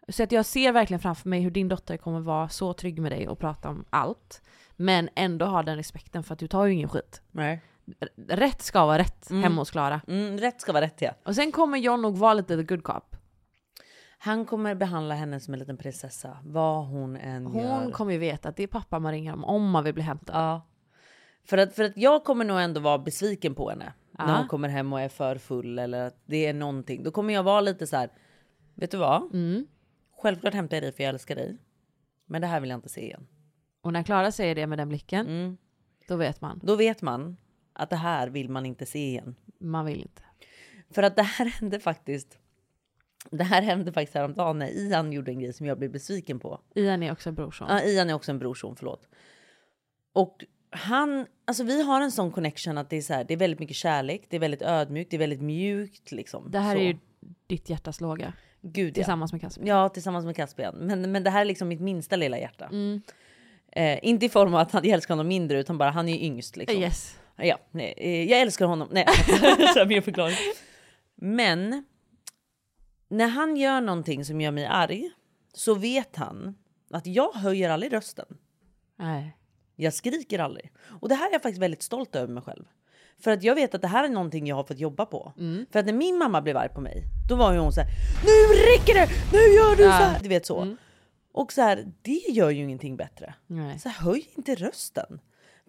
[SPEAKER 1] Så att jag ser verkligen framför mig hur din dotter kommer vara så trygg med dig och prata om allt. Men ändå ha den respekten för att du tar ju ingen skit.
[SPEAKER 2] Nej.
[SPEAKER 1] R- Rätt ska vara rätt hemma hos Klara.
[SPEAKER 2] Mm, rätt ska vara rätt ja.
[SPEAKER 1] Och sen kommer John nog vara lite the good cop.
[SPEAKER 2] Han kommer behandla henne som en liten prinsessa. Vad hon än gör.
[SPEAKER 1] Hon kommer ju veta att det är pappa man ringer om om man vill bli hämtad.
[SPEAKER 2] Ja. För att, för att jag kommer nog ändå vara besviken på henne när hon kommer hem och är för full eller att det är någonting. Då kommer jag vara lite så här. Vet du vad? Självklart hämtar jag dig för jag älskar dig. Men det här vill jag inte se igen.
[SPEAKER 1] Och när Klara säger det med den blicken,
[SPEAKER 2] Mm.
[SPEAKER 1] då vet man.
[SPEAKER 2] Då vet man att det här vill man inte se igen.
[SPEAKER 1] Man vill inte.
[SPEAKER 2] För att det här hände faktiskt. Det här hände faktiskt häromdagen när Ian gjorde en grej som jag blev besviken på.
[SPEAKER 1] Ian är också brorson.
[SPEAKER 2] Ja, Ian är också en brorson, förlåt. Och han, alltså vi har en sån connection att det är så här, det är väldigt mycket kärlek, det är väldigt ödmjukt, det är väldigt mjukt liksom.
[SPEAKER 1] Det här
[SPEAKER 2] så.
[SPEAKER 1] är ju ditt hjärtas låga
[SPEAKER 2] Gud, ja.
[SPEAKER 1] tillsammans med Kasper.
[SPEAKER 2] Ja, tillsammans med Caspian. Men, men det här är liksom mitt minsta lilla hjärta.
[SPEAKER 1] Mm.
[SPEAKER 2] Eh, inte i form av att han- jag älskar honom mindre, utan bara han är ju yngst. Liksom.
[SPEAKER 1] Yes.
[SPEAKER 2] Ja, nej, eh, jag älskar honom. Nej, *laughs* så här, mer förklaring. Men när han gör någonting som gör mig arg så vet han att jag höjer aldrig rösten.
[SPEAKER 1] Nej.
[SPEAKER 2] Jag skriker aldrig. Och det här är jag faktiskt väldigt stolt över mig själv. För att jag vet att det här är någonting jag har fått jobba på. För att när min mamma blev arg på mig, då var ju hon så här. Nu räcker det! Nu gör du så här! Du vet så. Och så här, det gör ju ingenting bättre.
[SPEAKER 1] Nej.
[SPEAKER 2] Så här, höj inte rösten.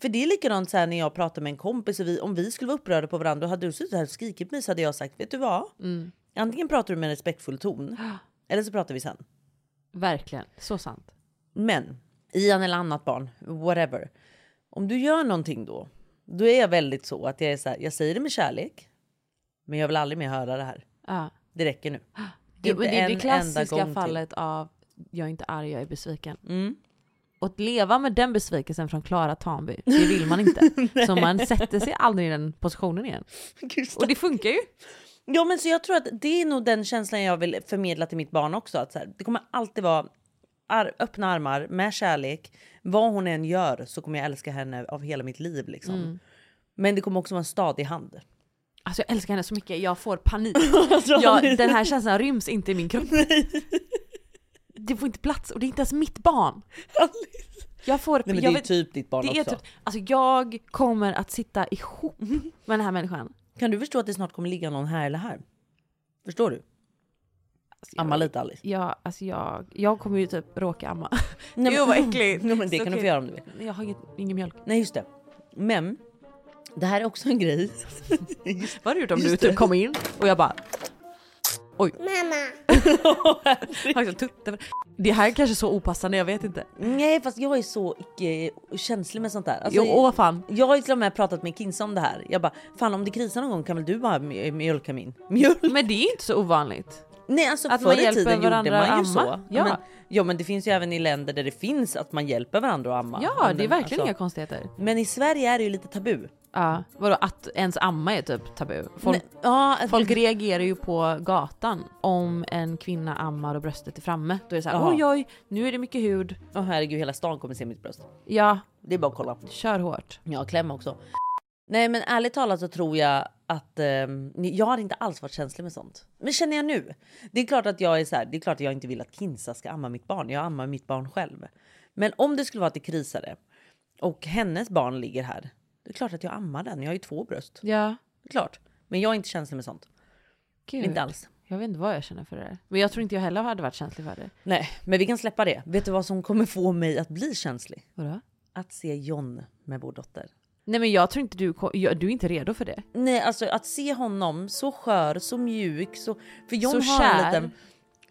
[SPEAKER 2] För det är likadant så här när jag pratar med en kompis och vi, om vi skulle vara upprörda på varandra och hade du suttit här och skrikit på mig så hade jag sagt, vet du vad? Antingen pratar du med en respektfull ton eller så pratar vi sen.
[SPEAKER 1] Verkligen. Så sant.
[SPEAKER 2] Men Ian eller annat barn, whatever. Om du gör någonting då, då är jag väldigt så att jag är så här, jag säger det med kärlek, men jag vill aldrig mer höra det här.
[SPEAKER 1] Ja.
[SPEAKER 2] Det
[SPEAKER 1] *laughs*
[SPEAKER 2] räcker nu.
[SPEAKER 1] Det,
[SPEAKER 2] Inte
[SPEAKER 1] det är det
[SPEAKER 2] en enda
[SPEAKER 1] klassiska
[SPEAKER 2] gång till. Mm.
[SPEAKER 1] fallet av jag är inte arg, jag är besviken. Och att leva med den besvikelsen från Klara Tanby, det vill man
[SPEAKER 2] *laughs*
[SPEAKER 1] inte. så man sätter sig aldrig i den positionen igen.
[SPEAKER 2] Gud, stack-
[SPEAKER 1] Och det funkar ju.
[SPEAKER 2] Ja, men så jag tror att det är nog den känslan jag vill förmedla till mitt barn också. Att så här, det kommer alltid vara ar- öppna armar med kärlek. Vad hon än gör så kommer jag älska henne av hela mitt liv liksom.
[SPEAKER 1] Mm.
[SPEAKER 2] Men det kommer också vara en
[SPEAKER 1] *laughs*
[SPEAKER 2] stadig hand. Alltså,
[SPEAKER 1] Alltså jag älskar henne så mycket, jag får panik. jag, den här känslan ryms inte i min kropp. Det får inte plats och det är inte ens mitt barn. Jag får...
[SPEAKER 2] Nej, men
[SPEAKER 1] jag
[SPEAKER 2] det är typ ditt barn
[SPEAKER 1] det är
[SPEAKER 2] också.
[SPEAKER 1] typ, alltså jag kommer att sitta ihop med den här människan. Alltså,
[SPEAKER 2] Kan du förstå att det snart kommer ligga någon här eller här? Förstår du?
[SPEAKER 1] jag-
[SPEAKER 2] Amma lite Alice.
[SPEAKER 1] Jag, alltså jag, jag kommer ju typ råka amma. *laughs*
[SPEAKER 2] Nej,
[SPEAKER 1] Gud vad
[SPEAKER 2] *laughs*
[SPEAKER 1] äckligt!
[SPEAKER 2] Nej, men det
[SPEAKER 1] Så
[SPEAKER 2] kan du
[SPEAKER 1] kul.
[SPEAKER 2] få göra om du vill.
[SPEAKER 1] Jag har inget, ingen mjölk.
[SPEAKER 2] Nej just det. Men det här är också en grej.
[SPEAKER 1] Vad har du gjort om du typ kom in och jag bara Oj. *laughs* Mamma! det här är kanske så opassande, jag vet inte.
[SPEAKER 2] Nej fast jag är så icke känslig med sånt där. Alltså,
[SPEAKER 1] Jo, åh vad fan.
[SPEAKER 2] Jag har ju till och med pratat med Kinsa om det här. Jag bara fan om det krisar någon gång kan väl du bara mj- mjölka min? *laughs* Mjölk?
[SPEAKER 1] Men det är inte så ovanligt.
[SPEAKER 2] Nej alltså
[SPEAKER 1] Att man
[SPEAKER 2] förr i
[SPEAKER 1] hjälper
[SPEAKER 2] tiden gjorde
[SPEAKER 1] varandra
[SPEAKER 2] man ju
[SPEAKER 1] att
[SPEAKER 2] så.
[SPEAKER 1] amma. Ja.
[SPEAKER 2] Men, ja men det finns ju även i länder där det finns att man hjälper varandra att amma.
[SPEAKER 1] Ja, det är
[SPEAKER 2] Men,
[SPEAKER 1] verkligen
[SPEAKER 2] alltså-
[SPEAKER 1] inga konstigheter.
[SPEAKER 2] Men i Sverige är det ju lite tabu.
[SPEAKER 1] Ja. Vadå att ens amma är typ tabu? Folk,
[SPEAKER 2] Nej, ja,
[SPEAKER 1] folk reagerar ju på gatan om en kvinna ammar och bröstet är framme. Då är det såhär
[SPEAKER 2] Jaha.
[SPEAKER 1] oj oj, nu är det mycket hud.
[SPEAKER 2] Åh herregud, hela stan kommer se mitt bröst.
[SPEAKER 1] Ja,
[SPEAKER 2] Det är bara att kolla.
[SPEAKER 1] kör hårt.
[SPEAKER 2] Ja, kläm också. Nej, men ärligt talat så tror jag att ehm, ni- jag har inte alls varit känslig med sånt. Men känner jag nu. Det är klart att jag är så här. Det är klart att jag inte vill att Kinsa ska amma mitt barn. Jag ammar mitt barn själv. Men om det skulle vara att det krisade och hennes barn ligger här. Det är klart att jag ammar den. Jag har ju två bröst.
[SPEAKER 1] Ja,
[SPEAKER 2] Det är klart. Men jag är inte känslig med sånt.
[SPEAKER 1] gud.
[SPEAKER 2] Inte alls.
[SPEAKER 1] Jag vet inte vad jag känner för det där. Men jag tror inte jag heller hade varit känslig för det.
[SPEAKER 2] Nej, men vi kan släppa det. Vet du vad som kommer få mig att bli känslig?
[SPEAKER 1] Vadå?
[SPEAKER 2] Att se John med vår dotter.
[SPEAKER 1] Nej men jag tror inte du, ko- jag- du är inte redo för det.
[SPEAKER 2] Nej, alltså att se honom så skör, så mjuk, så... För John
[SPEAKER 1] Så
[SPEAKER 2] har en
[SPEAKER 1] kär.
[SPEAKER 2] liten...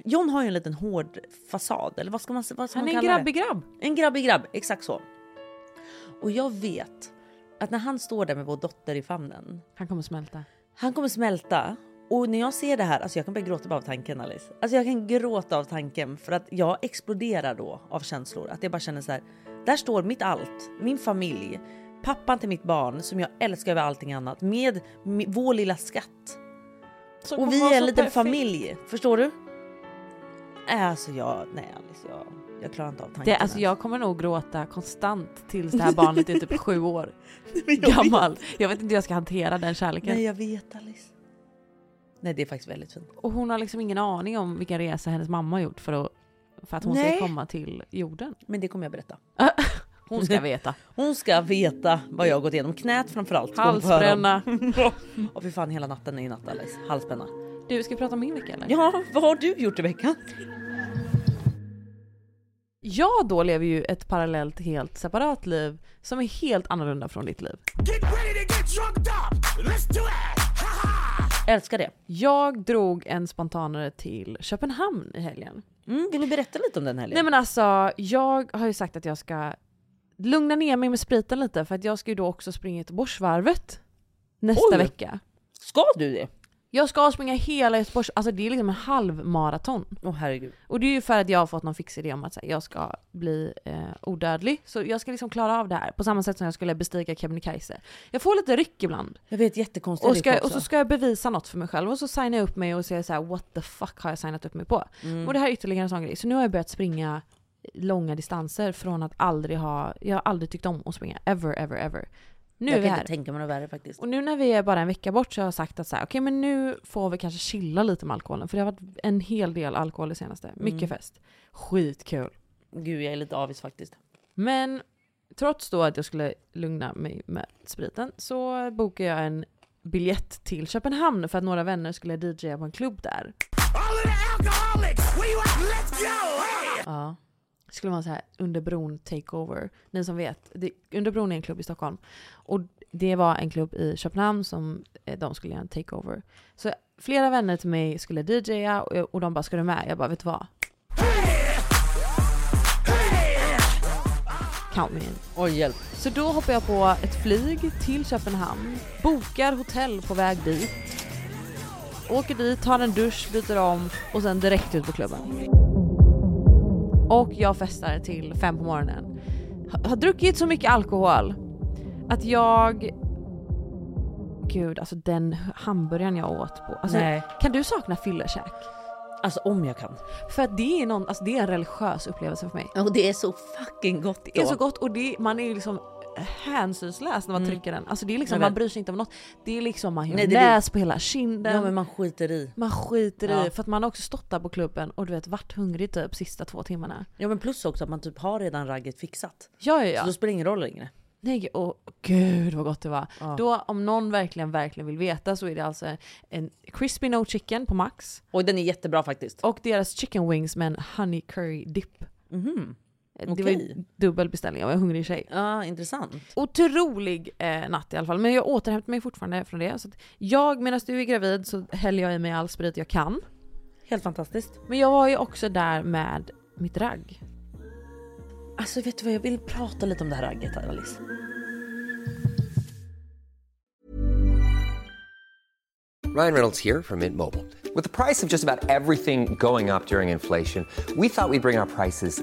[SPEAKER 2] John har ju en liten hård fasad, eller vad ska man, vad ska
[SPEAKER 1] Han
[SPEAKER 2] man
[SPEAKER 1] är en
[SPEAKER 2] kalla det?
[SPEAKER 1] grabbig grabb.
[SPEAKER 2] En grabbig grabb, exakt så. Och jag vet att när han står där med vår dotter i famnen,
[SPEAKER 1] Han kommer smälta.
[SPEAKER 2] han kommer smälta. Och när jag ser det här, alltså jag kan börja gråta bara av tanken Alice. Alltså jag kan gråta av tanken för att jag exploderar då av känslor. Att jag bara känner så här, där står mitt allt, min familj, pappan till mitt barn som jag älskar över allting annat med mi- vår lilla skatt.
[SPEAKER 1] Som
[SPEAKER 2] Och
[SPEAKER 1] kommer
[SPEAKER 2] vi
[SPEAKER 1] vara
[SPEAKER 2] är en
[SPEAKER 1] så
[SPEAKER 2] liten
[SPEAKER 1] perfekt.
[SPEAKER 2] familj, förstår du? Nej, Alltså jag, nej Alice, jag, jag klarar inte av tanken.
[SPEAKER 1] Det, alltså
[SPEAKER 2] ens.
[SPEAKER 1] jag kommer nog gråta konstant tills *laughs* det här barnet är typ sju år
[SPEAKER 2] Men *laughs* jag vet-
[SPEAKER 1] gammal. Jag vet inte hur jag ska hantera den kärleken.
[SPEAKER 2] Nej jag vet Alice. Nej det är faktiskt väldigt fint.
[SPEAKER 1] Och hon har liksom ingen aning om vilken resa hennes mamma har gjort för att, för att hon
[SPEAKER 2] Nej.
[SPEAKER 1] ska komma till jorden.
[SPEAKER 2] Men det kommer jag berätta.
[SPEAKER 1] Hon
[SPEAKER 2] *laughs*
[SPEAKER 1] ska veta.
[SPEAKER 2] Hon ska veta vad jag har gått igenom. Knät framförallt. ska hon få höra om. *laughs*
[SPEAKER 1] Halsbränna.
[SPEAKER 2] Åh fy fan hela natten är i natt Alice. Halsbränna.
[SPEAKER 1] Du, ska vi prata om min vecka eller?
[SPEAKER 2] Ja vad har du gjort i veckan?
[SPEAKER 1] Jag då lever ju ett parallellt helt separat liv som är helt annorlunda från ditt liv.
[SPEAKER 2] Älskar det.
[SPEAKER 1] Jag drog en spontanare till Köpenhamn i helgen.
[SPEAKER 2] Mm, vill du berätta lite om den helgen?
[SPEAKER 1] Nej men alltså, jag har ju sagt att jag ska lugna ner mig med spriten lite för att jag ska ju då också springa Göteborgsvarvet nästa
[SPEAKER 2] Oj.
[SPEAKER 1] vecka.
[SPEAKER 2] Ska du det?
[SPEAKER 1] Jag ska springa hela Göteborgs... Alltså det är liksom en halvmaraton.
[SPEAKER 2] Åh herregud.
[SPEAKER 1] Och det är ju för att jag har fått någon fix idé om att så här, jag ska bli eh, odödlig. Så jag ska liksom klara av det här på samma sätt som jag skulle bestiga Kebnekaise. Jag får lite ryck ibland.
[SPEAKER 2] Jag vet jättekonstigt
[SPEAKER 1] Och, ska, och så ska jag bevisa något för mig själv och så signar jag upp mig och säger så här: what the fuck har jag signat upp mig på?
[SPEAKER 2] Mm.
[SPEAKER 1] Och det här är ytterligare en sån grej. Så nu har jag börjat springa långa distanser från att aldrig ha, jag har aldrig tyckt om att springa. Ever, ever, ever. Nu är
[SPEAKER 2] jag
[SPEAKER 1] vi
[SPEAKER 2] kan
[SPEAKER 1] här.
[SPEAKER 2] inte tänka mig något värre faktiskt.
[SPEAKER 1] Och nu när vi är bara en vecka bort så har jag sagt att så här, okej men nu får vi kanske chilla lite med alkoholen. För det har varit en hel del alkohol det senaste. Mycket fest. Skitkul.
[SPEAKER 2] Gud jag är lite avis faktiskt.
[SPEAKER 1] Men trots då att jag skulle lugna mig med spriten så bokade jag en biljett till Köpenhamn för att några vänner skulle DJa på en klubb där. Ja. Det skulle vara så här under bron takeover. Ni som vet, det, under bron är en klubb i Stockholm. Och det var en klubb i Köpenhamn som eh, de skulle göra en takeover. Så flera vänner till mig skulle DJa och, och de bara “ska du med?” Jag bara “vet du vad?” Count me in.
[SPEAKER 2] Oj hjälp.
[SPEAKER 1] Så då hoppar jag på ett flyg till Köpenhamn, bokar hotell på väg dit, åker dit, tar en dusch, byter om och sen direkt ut på klubben. Och jag festar till fem på morgonen. Har, har druckit så mycket alkohol att jag... Gud, alltså den hamburgaren jag åt på. Alltså,
[SPEAKER 2] Nej.
[SPEAKER 1] Kan du sakna fyllekäk?
[SPEAKER 2] Alltså om jag kan.
[SPEAKER 1] För att det är, någon, alltså, det är en religiös upplevelse för mig.
[SPEAKER 2] Och det är så fucking gott då.
[SPEAKER 1] Det är så gott och det, man är ju liksom hänsynslös när man trycker den. Alltså det är
[SPEAKER 2] Mm. Jag
[SPEAKER 1] liksom,
[SPEAKER 2] vet.
[SPEAKER 1] man bryr sig inte om något. Det är liksom
[SPEAKER 2] det
[SPEAKER 1] majonnäs
[SPEAKER 2] blir-
[SPEAKER 1] på hela kinden.
[SPEAKER 2] Ja
[SPEAKER 1] man...
[SPEAKER 2] men man skiter i.
[SPEAKER 1] skiter
[SPEAKER 2] Ja.
[SPEAKER 1] i för att man har också stått där på klubben och du vet varit hungrig typ sista två timmarna.
[SPEAKER 2] Ja men plus också att man typ har redan ragget fixat.
[SPEAKER 1] Ja, ja,
[SPEAKER 2] Så
[SPEAKER 1] ja.
[SPEAKER 2] då spelar det ingen roll längre.
[SPEAKER 1] Nej, och gud vad gott det var. Då om någon verkligen, verkligen vill veta så är det alltså en crispy no chicken på max
[SPEAKER 2] Och den är jättebra faktiskt.
[SPEAKER 1] och deras chicken wings med en honey curry dip. Eh, Det var ju
[SPEAKER 2] Okej.
[SPEAKER 1] dubbel beställning, jag var en hungrig tjej.
[SPEAKER 2] Mhm. Ja intressant.
[SPEAKER 1] Otrolig eh, natt i alla fall, men jag återhämtar mig fortfarande från det. Så att jag, medan du är gravid så häller jag i mig all sprit jag kan.
[SPEAKER 2] Helt fantastiskt.
[SPEAKER 1] Men jag var ju också där med mitt ragg.
[SPEAKER 2] Alltså vet du vad jag vill prata lite om det här ragget här, Alice.
[SPEAKER 3] Ryan Reynolds here from Mint Mobile. With the price of just about everything going up during inflation, we thought we'd bring our prices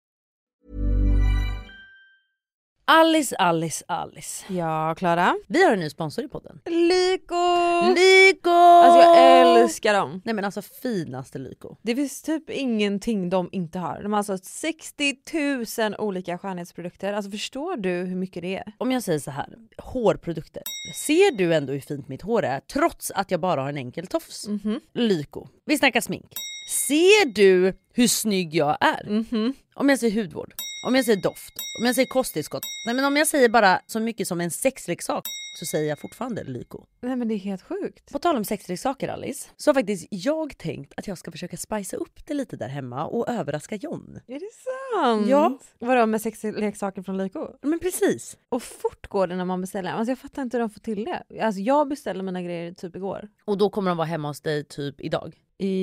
[SPEAKER 2] Alice, Alice, Alice.
[SPEAKER 1] Ja, Klara.
[SPEAKER 2] Vi har en ny sponsor i podden.
[SPEAKER 4] Lyko!
[SPEAKER 2] Lyko!
[SPEAKER 1] Alltså jag älskar dem.
[SPEAKER 2] Nej men alltså finaste Lyko.
[SPEAKER 1] Det finns typ ingenting de inte har. De har alltså 60 000 olika skönhetsprodukter. Alltså förstår du hur mycket det är?
[SPEAKER 2] Om jag säger så här, hårprodukter. Ser du ändå hur fint mitt hår är trots att jag bara har en enkel tofs? Lyko. Vi snackar smink. Ser du hur snygg jag är? Om jag säger hudvård, om jag säger doft, om jag säger kosttillskott. Nej men om jag säger bara så mycket som en sexleksak så säger jag fortfarande Lyko.
[SPEAKER 1] Nej men det är helt sjukt.
[SPEAKER 2] På tal om sexleksaker Alice, så har faktiskt jag tänkt att jag ska försöka spicea upp det lite där hemma och överraska John.
[SPEAKER 1] Är det sant?
[SPEAKER 2] Ja.
[SPEAKER 1] Vadå med sexleksaker från Lyko?
[SPEAKER 2] Men precis.
[SPEAKER 1] Och fort går det när man beställer. Alltså jag fattar inte hur de får till det. Alltså jag beställde mina grejer typ igår.
[SPEAKER 2] Och då kommer de vara hemma hos dig typ idag.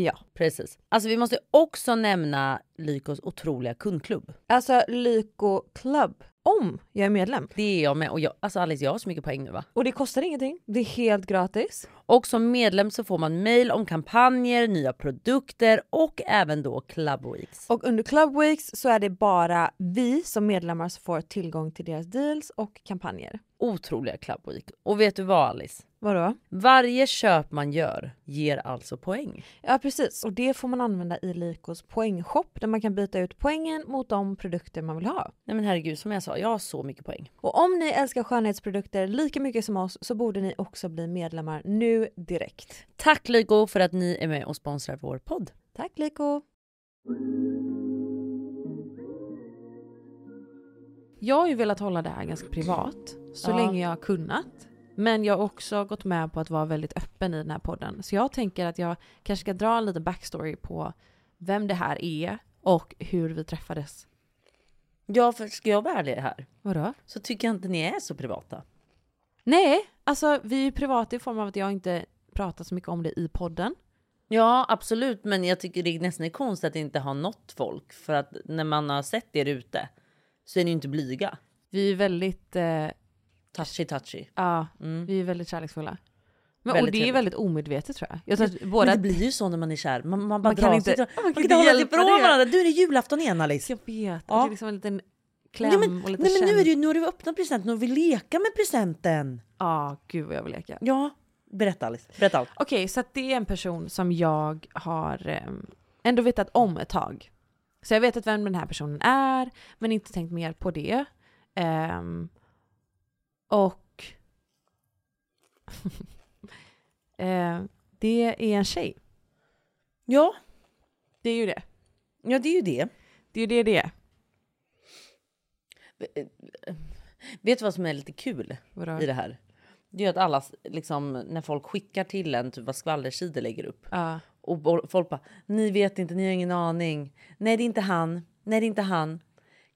[SPEAKER 1] Ja.
[SPEAKER 2] Precis. Alltså vi måste också nämna Lykos otroliga kundklubb.
[SPEAKER 1] Alltså Lyko Club. Om jag är medlem.
[SPEAKER 2] Det är jag med. Och jag, alltså Alice, jag har så mycket poäng nu va?
[SPEAKER 1] Och det kostar ingenting. Det är helt gratis.
[SPEAKER 2] Och som medlem så får man mail om kampanjer, nya produkter och även då Club Weeks.
[SPEAKER 1] Och under Club Weeks så är det bara vi som medlemmar som får tillgång till deras deals och kampanjer.
[SPEAKER 2] Otroliga Club Week. Och vet du vad Alice?
[SPEAKER 1] Vadå?
[SPEAKER 2] Varje köp man gör ger alltså poäng.
[SPEAKER 1] Ja precis, och det får man använda i Lykos poängshop där man kan byta ut poängen mot de produkter man vill ha.
[SPEAKER 2] Nej men herregud, som jag sa, jag har så mycket poäng.
[SPEAKER 1] Och om ni älskar skönhetsprodukter lika mycket som oss så borde ni också bli medlemmar nu direkt.
[SPEAKER 2] Tack Lyko för att ni är med och sponsrar vår podd.
[SPEAKER 1] Tack Lyko! Jag har ju velat hålla det här ganska privat så
[SPEAKER 2] Ja.
[SPEAKER 1] länge jag har kunnat. Men jag har också gått med på att vara väldigt öppen i den här podden. Så jag tänker att jag kanske ska dra en liten backstory på vem det här är och hur vi träffades.
[SPEAKER 2] Ja, för ska jag vara ärlig här
[SPEAKER 1] Vadå?
[SPEAKER 2] så tycker jag inte ni är så privata.
[SPEAKER 1] Nej, alltså vi är ju privata i form av att jag inte pratar så mycket om det i podden.
[SPEAKER 2] Ja, absolut. Men jag tycker det är nästan är konstigt att inte ha nått folk. För att när man har sett er ute så är ni ju inte blyga.
[SPEAKER 1] Vi är ju väldigt, eh,
[SPEAKER 2] Touchy touchy.
[SPEAKER 1] ja, vi är väldigt kärleksfulla. Men, och
[SPEAKER 2] Mm. Väldigt
[SPEAKER 1] det är
[SPEAKER 2] trevligt.
[SPEAKER 1] väldigt omedvetet tror jag. Jag tror att
[SPEAKER 2] Men
[SPEAKER 1] båda...
[SPEAKER 2] det blir ju så när man är kär. Man, man bara
[SPEAKER 1] Man kan
[SPEAKER 2] drar
[SPEAKER 1] inte-
[SPEAKER 2] sig.
[SPEAKER 1] man kan
[SPEAKER 2] Man kan
[SPEAKER 1] inte
[SPEAKER 2] inte hålla sig
[SPEAKER 1] hjälpa
[SPEAKER 2] ifrån
[SPEAKER 1] det.
[SPEAKER 2] varandra. Du är det julafton igen Alice.
[SPEAKER 1] Jag vet,
[SPEAKER 2] Ja.
[SPEAKER 1] det är liksom en liten kläm
[SPEAKER 2] Nej, men,
[SPEAKER 1] och
[SPEAKER 2] nej,
[SPEAKER 1] lite
[SPEAKER 2] men nu, är det
[SPEAKER 1] känn.
[SPEAKER 2] ju, nu har du öppnat presenten nu vill leka med presenten.
[SPEAKER 1] Ja, gud vad jag vill leka.
[SPEAKER 2] Ja, berätta Alice. Berätta allt.
[SPEAKER 1] Okej, så att det är en person som jag har ehm, ändå vetat om ett tag. Så jag vet att vem den här personen är, men inte tänkt mer på det. Ehm, och... *laughs* Ehm, det är en tjej.
[SPEAKER 2] Ja,
[SPEAKER 1] Det är ju det.
[SPEAKER 2] ja, det är ju det.
[SPEAKER 1] Det är ju det det är.
[SPEAKER 2] Vet du vad som är lite kul
[SPEAKER 1] Vadå?
[SPEAKER 2] i det här? Det är ju att alla, liksom, när folk skickar till en typ vad skvallersidor lägger upp.
[SPEAKER 1] Ja.
[SPEAKER 2] Och bo- folk bara, ni vet inte, ni har ingen aning. Nej, det är inte han. Nej, det är inte han.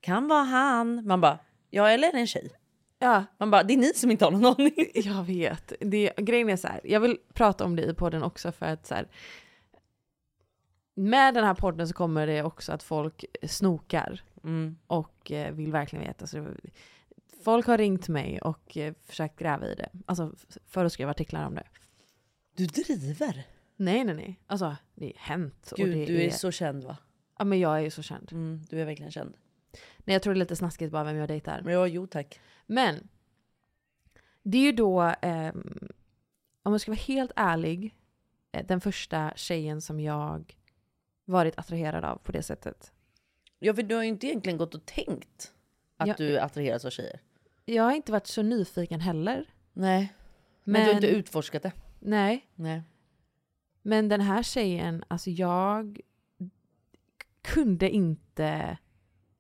[SPEAKER 2] Kan vara han. Man bara, ja eller är det en tjej?
[SPEAKER 1] ja,
[SPEAKER 2] Man bara, det är ni som inte har någon aning.
[SPEAKER 1] jag vet. Det, grejen är så här, jag vill prata om det i podden också för att så här, med den här podden så kommer det också att folk snokar
[SPEAKER 2] Mm.
[SPEAKER 1] och eh, vill verkligen veta. Så det, folk har ringt mig och eh, försökt gräva i det. Alltså f- för att skriva artiklar om det.
[SPEAKER 2] Du driver.
[SPEAKER 1] Nej, nej, nej. Alltså det är hänt. och det
[SPEAKER 2] Gud, du är så känd va?
[SPEAKER 1] Ja, men jag är ju så känd.
[SPEAKER 2] Mm, du är verkligen känd.
[SPEAKER 1] Nej, jag tror det är lite snaskigt bara vem jag dejtar.
[SPEAKER 2] Men ja, jo tack.
[SPEAKER 1] Men det är ju då, ehm, om jag ska vara helt ärlig, eh, den första tjejen som jag varit attraherad av på det sättet.
[SPEAKER 2] Ja, för du har ju inte egentligen gått och tänkt att
[SPEAKER 1] Ja.
[SPEAKER 2] du attraheras av tjejer.
[SPEAKER 1] Jag har inte varit så nyfiken heller.
[SPEAKER 2] Nej, men, du har inte utforskat det.
[SPEAKER 1] nej,
[SPEAKER 2] Nej.
[SPEAKER 1] men den här tjejen, alltså jag kunde inte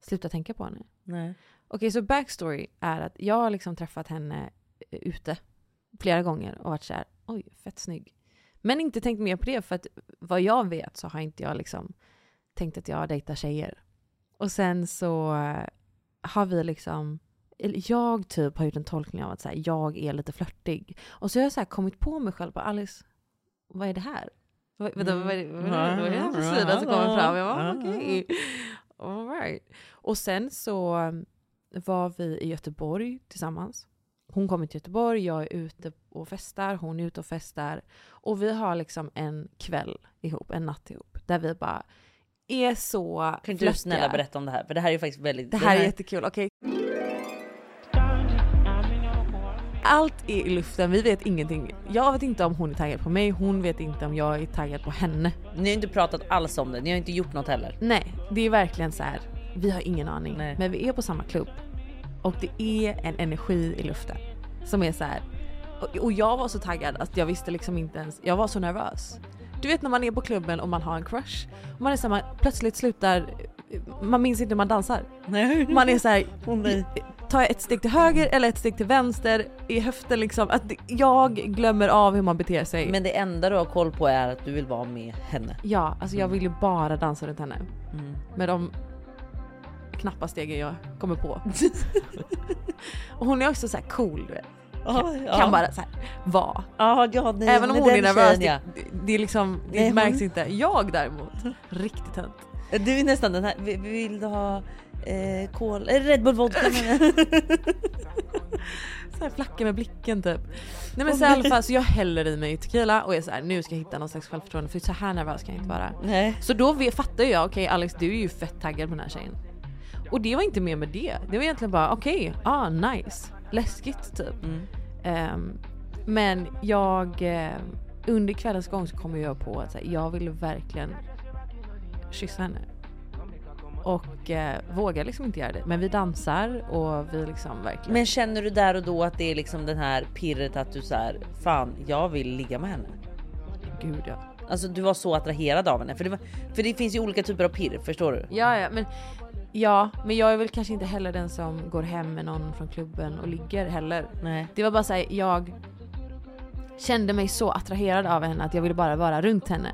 [SPEAKER 1] sluta tänka på henne.
[SPEAKER 2] Nej.
[SPEAKER 1] Okej, så backstory är att jag har liksom träffat henne eh, ute flera gånger och varit såhär, oj, fett snygg. Men inte tänkt mer på det, för att vad jag vet så har inte jag liksom tänkt att jag dejtar tjejer. Och sen så eh, har vi liksom eller jag typ har gjort en tolkning av att så här, jag är lite flörtig. Och så har jag så här kommit på mig själv, bara, Alice, vad är det här? Vad, vänta,
[SPEAKER 2] Mm.
[SPEAKER 1] vad, är det, vad, är det, vad är det här för sida som kommer fram? Jag bara, okej. All right. Och sen så eh, var vi i Göteborg tillsammans. Hon kommer till Göteborg, jag är ute och festar, hon är ute och festar. Och vi har liksom en kväll ihop, en natt ihop, där vi bara är så
[SPEAKER 2] Kan inte du snälla berätta om det här? För det här är ju faktiskt väldigt...
[SPEAKER 1] det här är jättekul, okej. Allt är i luften, vi vet ingenting. Jag vet inte om hon är taggad på mig, hon vet inte om jag är taggad på henne.
[SPEAKER 2] Ni har inte pratat alls om det, ni har inte gjort något heller.
[SPEAKER 1] Nej, det är verkligen så här. vi har ingen aning.
[SPEAKER 2] Nej.
[SPEAKER 1] Men vi är på samma klubb. Och det är en energi i luften. Som är så här. Och, och jag var så taggad att jag visste liksom inte ens, jag var så nervös. Du vet när man är på klubben och man har en crush. Och man är så här, man plötsligt slutar, man minns inte hur man dansar.
[SPEAKER 2] Nej.
[SPEAKER 1] Man är så här,
[SPEAKER 2] Åh, nej.
[SPEAKER 1] tar jag ett steg till höger eller ett steg till vänster i höften liksom. Att det- jag glömmer av hur man beter sig.
[SPEAKER 2] Men det enda du har koll på är att du vill vara med henne.
[SPEAKER 1] Ja, alltså jag vill ju bara dansa runt henne.
[SPEAKER 2] Mm.
[SPEAKER 1] Med de knappa stegen jag kommer
[SPEAKER 2] *laughs*
[SPEAKER 1] på. och hon är också så här cool du vet.
[SPEAKER 2] Ja,
[SPEAKER 1] Kan bara så här vara.
[SPEAKER 2] Ja, ja, nej,
[SPEAKER 1] Även om
[SPEAKER 2] men
[SPEAKER 1] hon är
[SPEAKER 2] den
[SPEAKER 1] nervös,
[SPEAKER 2] tjejen,
[SPEAKER 1] det, det, det, är liksom, det
[SPEAKER 2] Nej, hon-
[SPEAKER 1] märks inte. Jag däremot, riktigt tönt.
[SPEAKER 2] ja. typ. Du är nästan den här, vi- vi vill du ha eh, kol, eh, Red Bull vodka menar jag.
[SPEAKER 1] Så här flackar med blicken typ. Nej men så i alla fall, så jag häller i mig tequila och är så här, nu ska jag hitta någon slags självförtroende för så här nervös kan jag inte vara.
[SPEAKER 2] *laughs* Nej.
[SPEAKER 1] Så då vi- fattar ju jag, okej Alex du är ju fett taggad på den här tjejen. Och det var inte mer med det. Det var egentligen bara okej, ah nice. Läskigt typ. Ehm, men jag, eh, under kvällens gång så kom jag på att så här, jag ville verkligen kyssa henne. Och eh, vågar liksom inte göra det. Men vi dansar och vi liksom verkligen...
[SPEAKER 2] Men känner du där och då att det är liksom den här pirret att du så här, fan jag vill ligga med henne.
[SPEAKER 1] Gud ja.
[SPEAKER 2] Alltså du var så attraherad av henne. För det, var, för det finns ju olika typer av pirr, förstår du?
[SPEAKER 1] Ja, ja, men, ja, men jag är väl kanske inte heller den som går hem med någon från klubben och ligger heller.
[SPEAKER 2] Nej.
[SPEAKER 1] Eh, Det var bara såhär, jag kände mig så attraherad av henne att jag ville bara vara runt henne.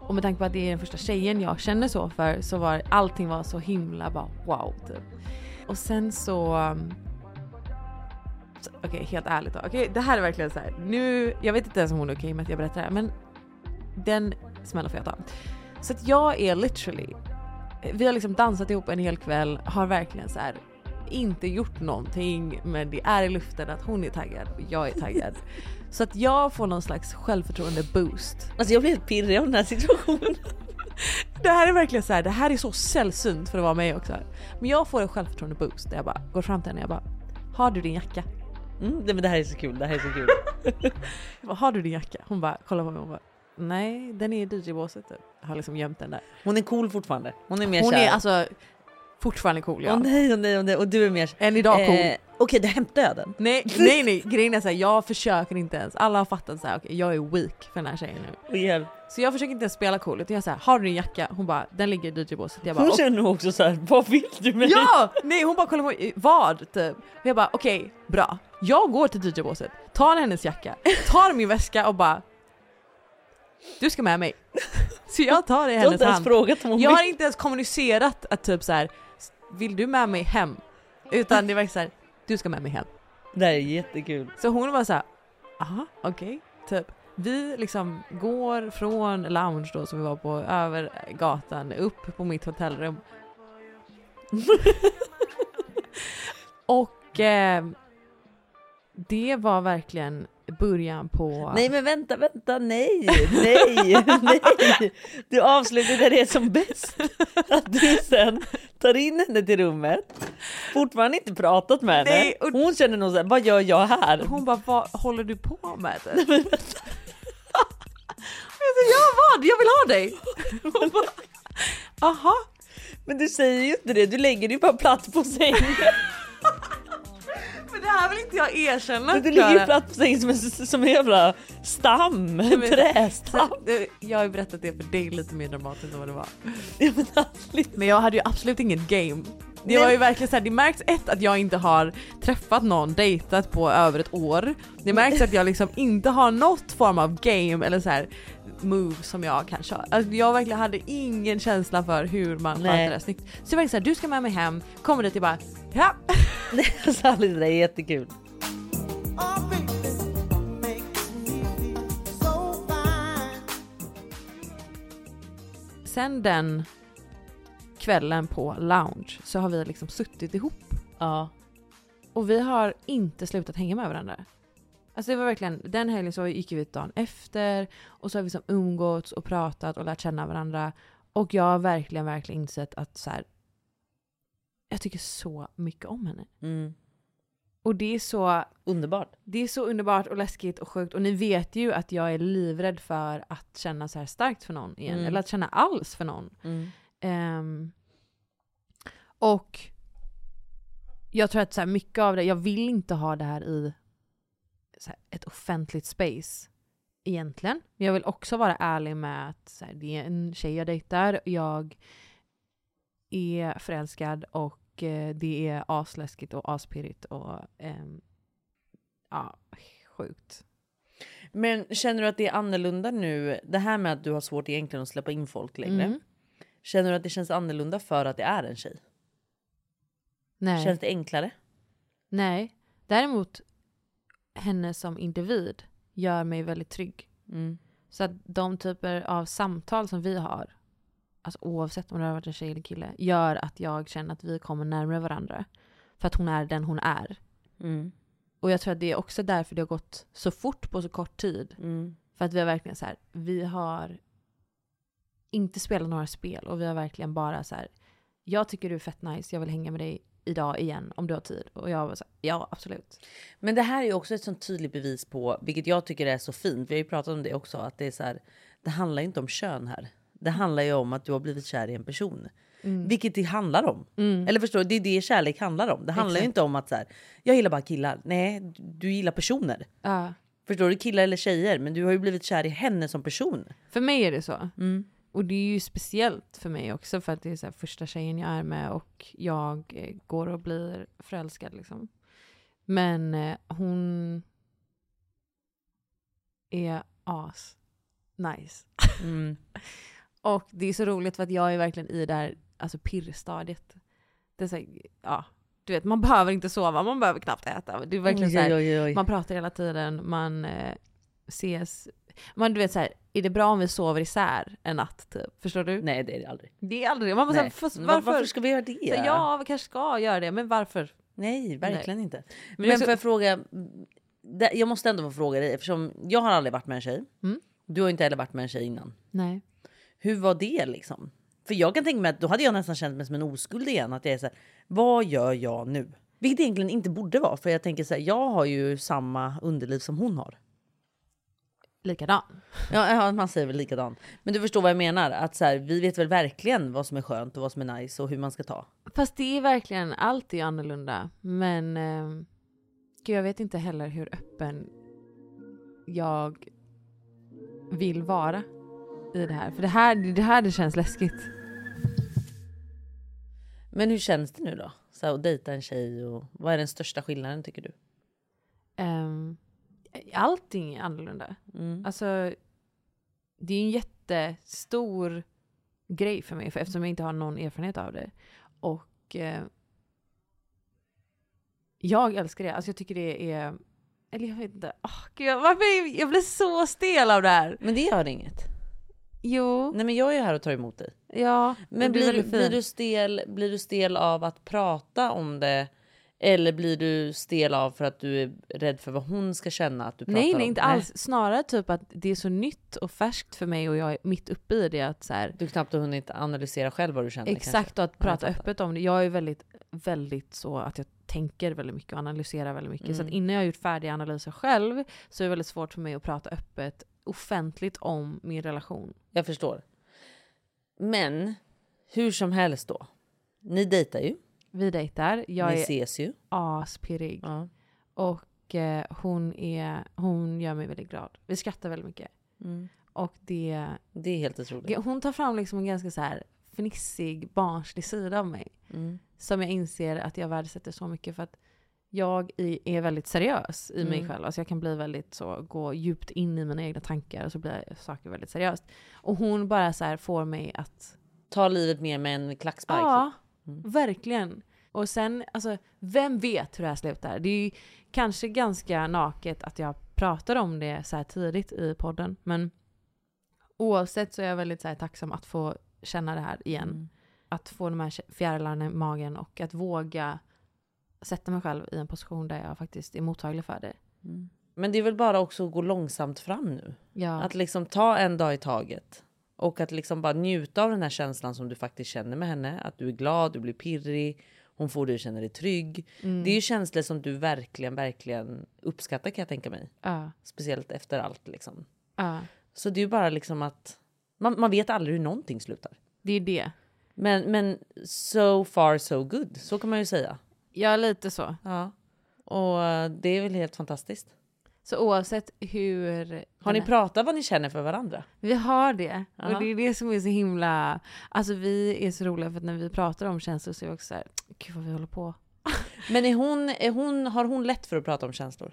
[SPEAKER 1] Och med tanke på att det är den första tjejen jag känner så för så var allting var så himla bara wow typ. Och sen så... um, så- Okej, helt ärligt då. Okej, det här är verkligen så här. Nu, jag vet inte ens om hon är okej med att jag berättar det här men den smällen får jag ta. Så att jag är literally vi har liksom dansat ihop en hel kväll, har verkligen så här inte gjort någonting men det är i luften att hon är taggad och jag är taggad. Så att jag får någon slags självförtroende boost.
[SPEAKER 2] Alltså jag blir helt pirrig av den här situationen. *laughs*
[SPEAKER 1] Det här är verkligen så här, det här är så sällsynt för att vara mig också. Men jag får en självförtroende boost där jag bara går fram till henne och jag bara har du din jacka?
[SPEAKER 2] Mm, nej men det här är så kul, det här är så kul.
[SPEAKER 1] Jag bara, har du din jacka? Hon bara kollar på mig och bara nej den är i DJ-båset typ. Jag Har liksom gömt den där.
[SPEAKER 2] Hon är cool fortfarande. Hon är mer
[SPEAKER 1] Hon
[SPEAKER 2] kär.
[SPEAKER 1] är alltså fortfarande cool
[SPEAKER 2] Åh
[SPEAKER 1] ja.
[SPEAKER 2] nej, åh nej, åh nej. Och du är mer
[SPEAKER 1] Än idag cool.
[SPEAKER 2] Eh, Okej, då hämtar jag den.
[SPEAKER 1] Nej, nej, nej. Grejen är så här, jag försöker inte ens. Alla har fattat så här, okej, jag är weak för den här tjejen nu.
[SPEAKER 2] Och hjälp.
[SPEAKER 1] Så jag försöker inte ens spela cool utan jag säger har du din jacka? Hon bara, den ligger i DJ-båset. Jag bara,
[SPEAKER 2] Hon
[SPEAKER 1] "Och-
[SPEAKER 2] känner nog också så här, vad vill du med
[SPEAKER 1] *laughs*
[SPEAKER 2] det?
[SPEAKER 1] ja! Nej, hon bara kollar på mig, vad? Typ. Och jag bara, okej, bra. Jag går till DJ-båset, tar hennes jacka, tar min väska och bara, du ska med mig. *laughs* Så jag tar det i
[SPEAKER 2] Jag har
[SPEAKER 1] hennes
[SPEAKER 2] inte ens
[SPEAKER 1] hand.
[SPEAKER 2] frågat om hon
[SPEAKER 1] Jag har
[SPEAKER 2] vill.
[SPEAKER 1] inte ens kommunicerat att typ så här, vill du med mig hem? Utan det var så här, du ska med mig hem.
[SPEAKER 2] Det här är jättekul.
[SPEAKER 1] Så hon var så här, aha, okej, typ. Vi liksom går från lounge då som vi var på, över gatan, upp på mitt hotellrum. *laughs* Och eh, det var verkligen början på...
[SPEAKER 2] Nej men vänta, vänta, nej, *laughs* nej, nej. Du avslutar där det är som bäst. Att du sen tar in henne till rummet, fortfarande inte pratat med henne.
[SPEAKER 1] Nej, och-
[SPEAKER 2] Hon känner nog såhär, vad gör jag här?
[SPEAKER 1] Hon bara, vad håller du på med? jag sa, ja vad, *laughs* jag vill ha dig! *laughs* Hon bara, aha.
[SPEAKER 2] Men du säger ju inte det, du lägger dig bara platt på sängen.
[SPEAKER 1] Men det här vill inte jag erkänna.
[SPEAKER 2] Du
[SPEAKER 1] Klara.
[SPEAKER 2] ligger ju platt på sängen som en, som en jävla stam, en
[SPEAKER 1] men-
[SPEAKER 2] *laughs* trästam.
[SPEAKER 1] Det- Jag har ju berättat det för dig lite mer dramatiskt än vad det var.
[SPEAKER 2] Ja, men alltså, ärligt.
[SPEAKER 1] Men jag hade ju absolut inget game. Det
[SPEAKER 2] Nej.
[SPEAKER 1] var ju verkligen såhär, det märks ett att jag inte har träffat någon, dejtat på över ett år. Det märks att jag liksom inte har något form av game eller så här move som jag kan köra. Alltså jag verkligen hade ingen känsla för hur man sköter
[SPEAKER 2] Nej.
[SPEAKER 1] det här snyggt. Så jag var såhär, du ska med mig hem, kommer dit och bara Ja.
[SPEAKER 2] Alltså Alice, det där är jättekul.
[SPEAKER 1] Sen den kvällen på lounge så har vi liksom suttit ihop.
[SPEAKER 2] Ja.
[SPEAKER 1] Och vi har inte slutat hänga med varandra. Alltså det var verkligen, den helgen så gick vi ut dagen efter och så har vi liksom umgåtts och pratat och lärt känna varandra. Och jag har verkligen, verkligen insett att så här, jag tycker så mycket om henne.
[SPEAKER 2] Mm.
[SPEAKER 1] Och det är så
[SPEAKER 2] Underbart.
[SPEAKER 1] det är så underbart och läskigt och sjukt. Och ni vet ju att jag är livrädd för att känna så här starkt för någon igen.
[SPEAKER 2] Mm.
[SPEAKER 1] Eller att känna alls för någon.
[SPEAKER 2] Mm.
[SPEAKER 1] Ehm, och jag tror att så här mycket av det, jag vill inte ha det här i så här ett offentligt space egentligen. Men jag vill också vara ärlig med att så här, det är en tjej jag dejtar, jag är förälskad och eh, det är asläskigt och aspirrigt och ehm, ja, sjukt.
[SPEAKER 2] Men känner du att det är annorlunda nu? Det här med att du har svårt egentligen att släppa in folk längre.
[SPEAKER 1] Mm.
[SPEAKER 2] Känner du att det känns annorlunda för att det är en tjej?
[SPEAKER 1] Nej.
[SPEAKER 2] Känns det enklare?
[SPEAKER 1] Nej. Däremot, henne som individ gör mig väldigt trygg.
[SPEAKER 2] Mm.
[SPEAKER 1] Så att de typer av samtal som vi har, alltså oavsett om det har varit en tjej eller kille, gör att jag känner att vi kommer närmare varandra. För att hon är den hon är.
[SPEAKER 2] Mm.
[SPEAKER 1] Och jag tror att det är också därför det har gått så fort på så kort tid.
[SPEAKER 2] Mm.
[SPEAKER 1] För att vi har verkligen så här, vi har inte spelat några spel och vi har verkligen bara så här, jag tycker du är fett nice, jag vill hänga med dig idag igen om du har tid. Och jag var så här, ja absolut.
[SPEAKER 2] Men det här är ju också ett sånt tydligt bevis på, vilket jag tycker är så fint, vi har ju pratat om det också, att det är så här, det handlar ju inte om kön här. Det handlar ju om att du har blivit kär i en person. Vilket det handlar om.
[SPEAKER 1] Mm.
[SPEAKER 2] Eller förstår du? Det är det kärlek handlar om. Det handlar ju inte om att så här, jag gillar bara killar. Nej, du gillar personer.
[SPEAKER 1] Ja.
[SPEAKER 2] Förstår du? Killar eller tjejer. Men du har ju blivit kär i henne som person.
[SPEAKER 1] För mig är det så. Och det är ju speciellt för mig också för att det är så här första tjejen jag är med och jag eh, går och blir förälskad liksom. Men eh, hon är as nice. *laughs*
[SPEAKER 2] Mm.
[SPEAKER 1] Och det är så roligt för att jag är verkligen i det här alltså pirrstadiet. Det är så här, ja, du vet man behöver inte sova, man behöver knappt äta. Det är verkligen så här,
[SPEAKER 2] oj, oj.
[SPEAKER 1] man pratar hela tiden, man eh, ses. Man du vet så här, är det bra om vi sover isär en natt typ? Förstår du?
[SPEAKER 2] Nej, det är det aldrig.
[SPEAKER 1] Det är aldrig det. Man bara så här,
[SPEAKER 2] Nej.
[SPEAKER 1] fast
[SPEAKER 2] Men
[SPEAKER 1] varför?
[SPEAKER 2] varför ska vi göra det?
[SPEAKER 1] Så här, ja, vi kanske ska göra det, men varför?
[SPEAKER 2] Nej, verkligen inte. Men,
[SPEAKER 1] det är
[SPEAKER 2] får
[SPEAKER 1] så-
[SPEAKER 2] jag fråga, det- jag måste ändå få fråga dig eftersom jag har aldrig varit med en tjej.
[SPEAKER 1] Mm.
[SPEAKER 2] Du har inte heller varit med en tjej innan.
[SPEAKER 1] Nej.
[SPEAKER 2] Hur var det liksom? För jag kan tänka mig att då hade jag nästan känt mig som en oskuld igen. Att jag är så här, vad gör jag nu? Vilket egentligen inte borde vara. För jag tänker så här, jag har ju samma underliv som hon har.
[SPEAKER 1] Likadan.
[SPEAKER 2] Ja, ja, man säger väl likadan. Men du förstår vad jag menar. Att så här, vi vet väl verkligen vad som är skönt och vad som är nice och hur man ska ta.
[SPEAKER 1] Fast det är verkligen, allt är annorlunda. Men eh, gud, jag vet inte heller hur öppen jag vill vara i det här. För det här det, här det känns läskigt.
[SPEAKER 2] Men hur känns det nu då? Så här, att dejta en tjej och vad är den största skillnaden tycker du?
[SPEAKER 1] Ehm, allting är annorlunda.
[SPEAKER 2] Mm.
[SPEAKER 1] Alltså, det är en jättestor grej för mig för eftersom jag inte har någon erfarenhet av det. Och eh, jag älskar det. Alltså jag tycker det är... Eller jag vet inte. Åh, gud, jag- varför, jag blir så stel av det här.
[SPEAKER 2] Men det gör inget.
[SPEAKER 1] Jo,
[SPEAKER 2] Nej men jag är här och tar emot dig.
[SPEAKER 1] ja.
[SPEAKER 2] Men
[SPEAKER 1] du är
[SPEAKER 2] blir, du-
[SPEAKER 1] väldigt fin.
[SPEAKER 2] blir, du stel, blir du stel av att prata om det? Eller blir du stel av för att du är rädd för vad hon ska känna att du pratar
[SPEAKER 1] Nej,
[SPEAKER 2] om?
[SPEAKER 1] nej, inte alls. Snarare typ att det är så nytt och färskt för mig och jag är mitt uppe i det. Att så här,
[SPEAKER 2] Du knappt har hunnit analysera själv vad du känner kanske.
[SPEAKER 1] Exakt, och att prata öppet om det. Jag är väldigt, väldigt så att jag tänker väldigt mycket och analyserar väldigt mycket. Så att innan jag har gjort färdiga analyser själv så är det väldigt svårt för mig att prata öppet offentligt om min relation.
[SPEAKER 2] Jag förstår. Men hur som helst då. Ni dejtar ju.
[SPEAKER 1] Vi dejtar, jag
[SPEAKER 2] ni
[SPEAKER 1] är
[SPEAKER 2] ses ju.
[SPEAKER 1] aspirrig
[SPEAKER 2] Ja.
[SPEAKER 1] och eh, hon, är, hon gör mig väldigt glad. Vi skrattar väldigt mycket. Mm. Och det,
[SPEAKER 2] Det är helt otroligt.
[SPEAKER 1] hon tar fram liksom en ganska så här fnissig, barnslig sida av mig.
[SPEAKER 2] Mm.
[SPEAKER 1] som jag inser att jag värdesätter så mycket för att jag i- är väldigt seriös i mig
[SPEAKER 2] Mm.
[SPEAKER 1] själv. Alltså jag kan bli väldigt så, gå djupt in i mina egna tankar och så blir saker väldigt seriöst. Och hon bara så här får mig att,
[SPEAKER 2] Ta livet mer med en klackspark.
[SPEAKER 1] ja, verkligen. Och sen, alltså, vem vet hur det här slutar? Det är ju kanske ganska naket att jag pratar om det så här tidigt i podden, men oavsett så är jag väldigt så här, tacksam att få känna det här igen.
[SPEAKER 2] Mm.
[SPEAKER 1] Att få de här kä- fjärilarna i magen och att våga sätta mig själv i en position där jag faktiskt är mottaglig för det.
[SPEAKER 2] Men det är väl bara också att gå långsamt fram nu.
[SPEAKER 1] Ja.
[SPEAKER 2] Att liksom ta en dag i taget. Och att liksom bara njuta av den här känslan som du faktiskt känner med henne. Att du är glad, du blir pirrig, hon får dig att känna dig trygg.
[SPEAKER 1] mm,
[SPEAKER 2] Det är ju känslor som du verkligen, verkligen uppskattar kan jag tänka mig.
[SPEAKER 1] Ja.
[SPEAKER 2] Speciellt efter allt liksom.
[SPEAKER 1] Ja.
[SPEAKER 2] Så det är ju bara liksom att man, man vet aldrig hur någonting slutar.
[SPEAKER 1] Det är det.
[SPEAKER 2] Men, men so far so good, så kan man ju säga.
[SPEAKER 1] Ja, lite så.
[SPEAKER 2] Ja. Och eh, det är väl helt fantastiskt.
[SPEAKER 1] Så oavsett hur...
[SPEAKER 2] Har ni pratat vad ni känner för varandra?
[SPEAKER 1] Vi har det.
[SPEAKER 2] Ja.
[SPEAKER 1] Och det är det som är så himla... Alltså vi är så roliga för att när vi pratar om känslor så är vi också såhär, gud vad vi håller på.
[SPEAKER 2] Men är hon, är hon, har hon lätt för att prata om känslor?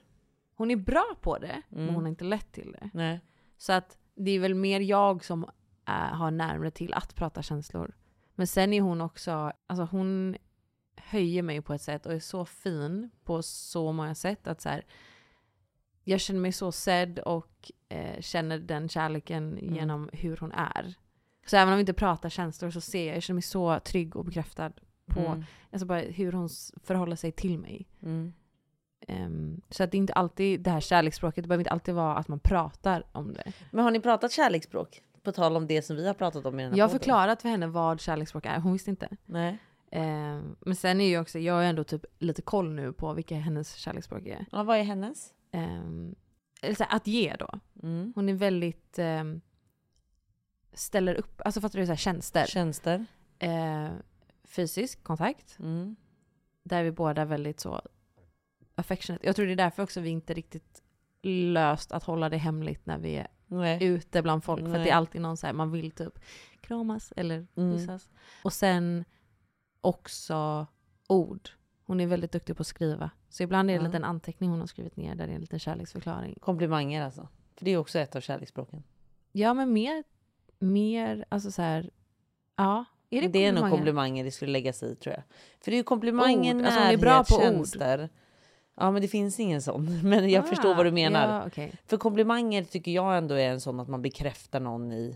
[SPEAKER 1] Hon är bra på det,
[SPEAKER 2] Mm.
[SPEAKER 1] men hon har inte lätt till det.
[SPEAKER 2] Nej.
[SPEAKER 1] Så att det är väl mer jag som äh, har närmare till att prata känslor. Men sen är hon också, alltså hon höjer mig på ett sätt och är så fin på så många sätt att så här, jag känner mig så sedd och eh, känner den kärleken genom hur hon är. Så även om vi inte pratar känslor så ser jag, jag känner mig så trygg och bekräftad på
[SPEAKER 2] Mm.
[SPEAKER 1] alltså bara hur hon s- förhåller sig till mig. Ehm, så att det är inte alltid det här kärleksspråket, det behöver inte alltid vara att man pratar om det.
[SPEAKER 2] Men har ni pratat kärleksspråk? På tal om det som vi har pratat om i den här
[SPEAKER 1] Jag har
[SPEAKER 2] podden.
[SPEAKER 1] förklarat för henne vad kärleksspråk är, hon visste inte.
[SPEAKER 2] Nej.
[SPEAKER 1] Ehm, men sen är ju också, jag har ju ändå typ lite koll nu på vilka hennes kärleksspråk är.
[SPEAKER 2] Ja, vad är hennes? Mm.
[SPEAKER 1] Ehm, eller så här, att ge då. Hon är väldigt, ehm, ställer upp, alltså fattar du, så här, tjänster.
[SPEAKER 2] Tjänster.
[SPEAKER 1] Ehm, fysisk kontakt,
[SPEAKER 2] Mm.
[SPEAKER 1] där är vi båda väldigt så affectionate. Jag tror det är därför också vi inte riktigt löst att hålla det hemligt när vi är
[SPEAKER 2] Nej.
[SPEAKER 1] ute bland folk. För att
[SPEAKER 2] Nej.
[SPEAKER 1] det är alltid någon så här, man vill typ kramas eller
[SPEAKER 2] Mm.
[SPEAKER 1] pussas. Och sen också ord. Hon är väldigt duktig på att skriva. Så ibland är det en
[SPEAKER 2] Ja.
[SPEAKER 1] liten anteckning hon har skrivit ner där det är en liten kärleksförklaring.
[SPEAKER 2] Komplimanger alltså. För det är också ett av kärleksspråken.
[SPEAKER 1] Ja men mer, mer alltså så här, ja. Är det,
[SPEAKER 2] det är nog
[SPEAKER 1] komplimanger?
[SPEAKER 2] komplimanger det skulle lägga sig i tror jag. För det är ju komplimanger,
[SPEAKER 1] Ord.
[SPEAKER 2] närhet,
[SPEAKER 1] Alltså, hon är bra på ord.
[SPEAKER 2] tjänster. Ja men det finns ingen sån. *laughs* Men jag förstår vad du menar.
[SPEAKER 1] Ah, Ja, okej.
[SPEAKER 2] För komplimanger tycker jag ändå är en sån att man bekräftar någon i,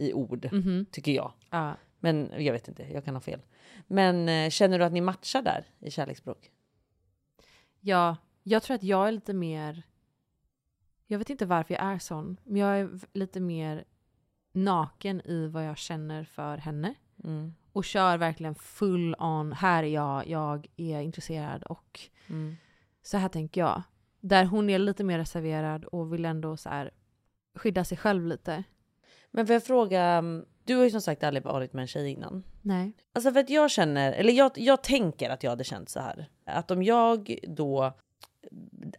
[SPEAKER 2] i ord. Tycker jag.
[SPEAKER 1] Mm. Mhm. Ja.
[SPEAKER 2] Men jag vet inte, jag kan ha fel. Men eh, känner du att ni matchar där i kärleksspråk?
[SPEAKER 1] ja, jag tror att jag är lite mer, jag vet inte varför jag är sån, men jag är v- lite mer naken i vad jag känner för henne.
[SPEAKER 2] Mm.
[SPEAKER 1] och kör verkligen full on, här är jag, jag är intresserad och så här tänker jag. Där hon är lite mer reserverad och vill ändå så här skydda sig själv lite.
[SPEAKER 2] Men får jag fråga, mm, du har ju som sagt aldrig varit med en tjej innan.
[SPEAKER 1] Nej.
[SPEAKER 2] Alltså för att jag känner, eller jag, jag tänker att jag hade känt så här. Att om jag då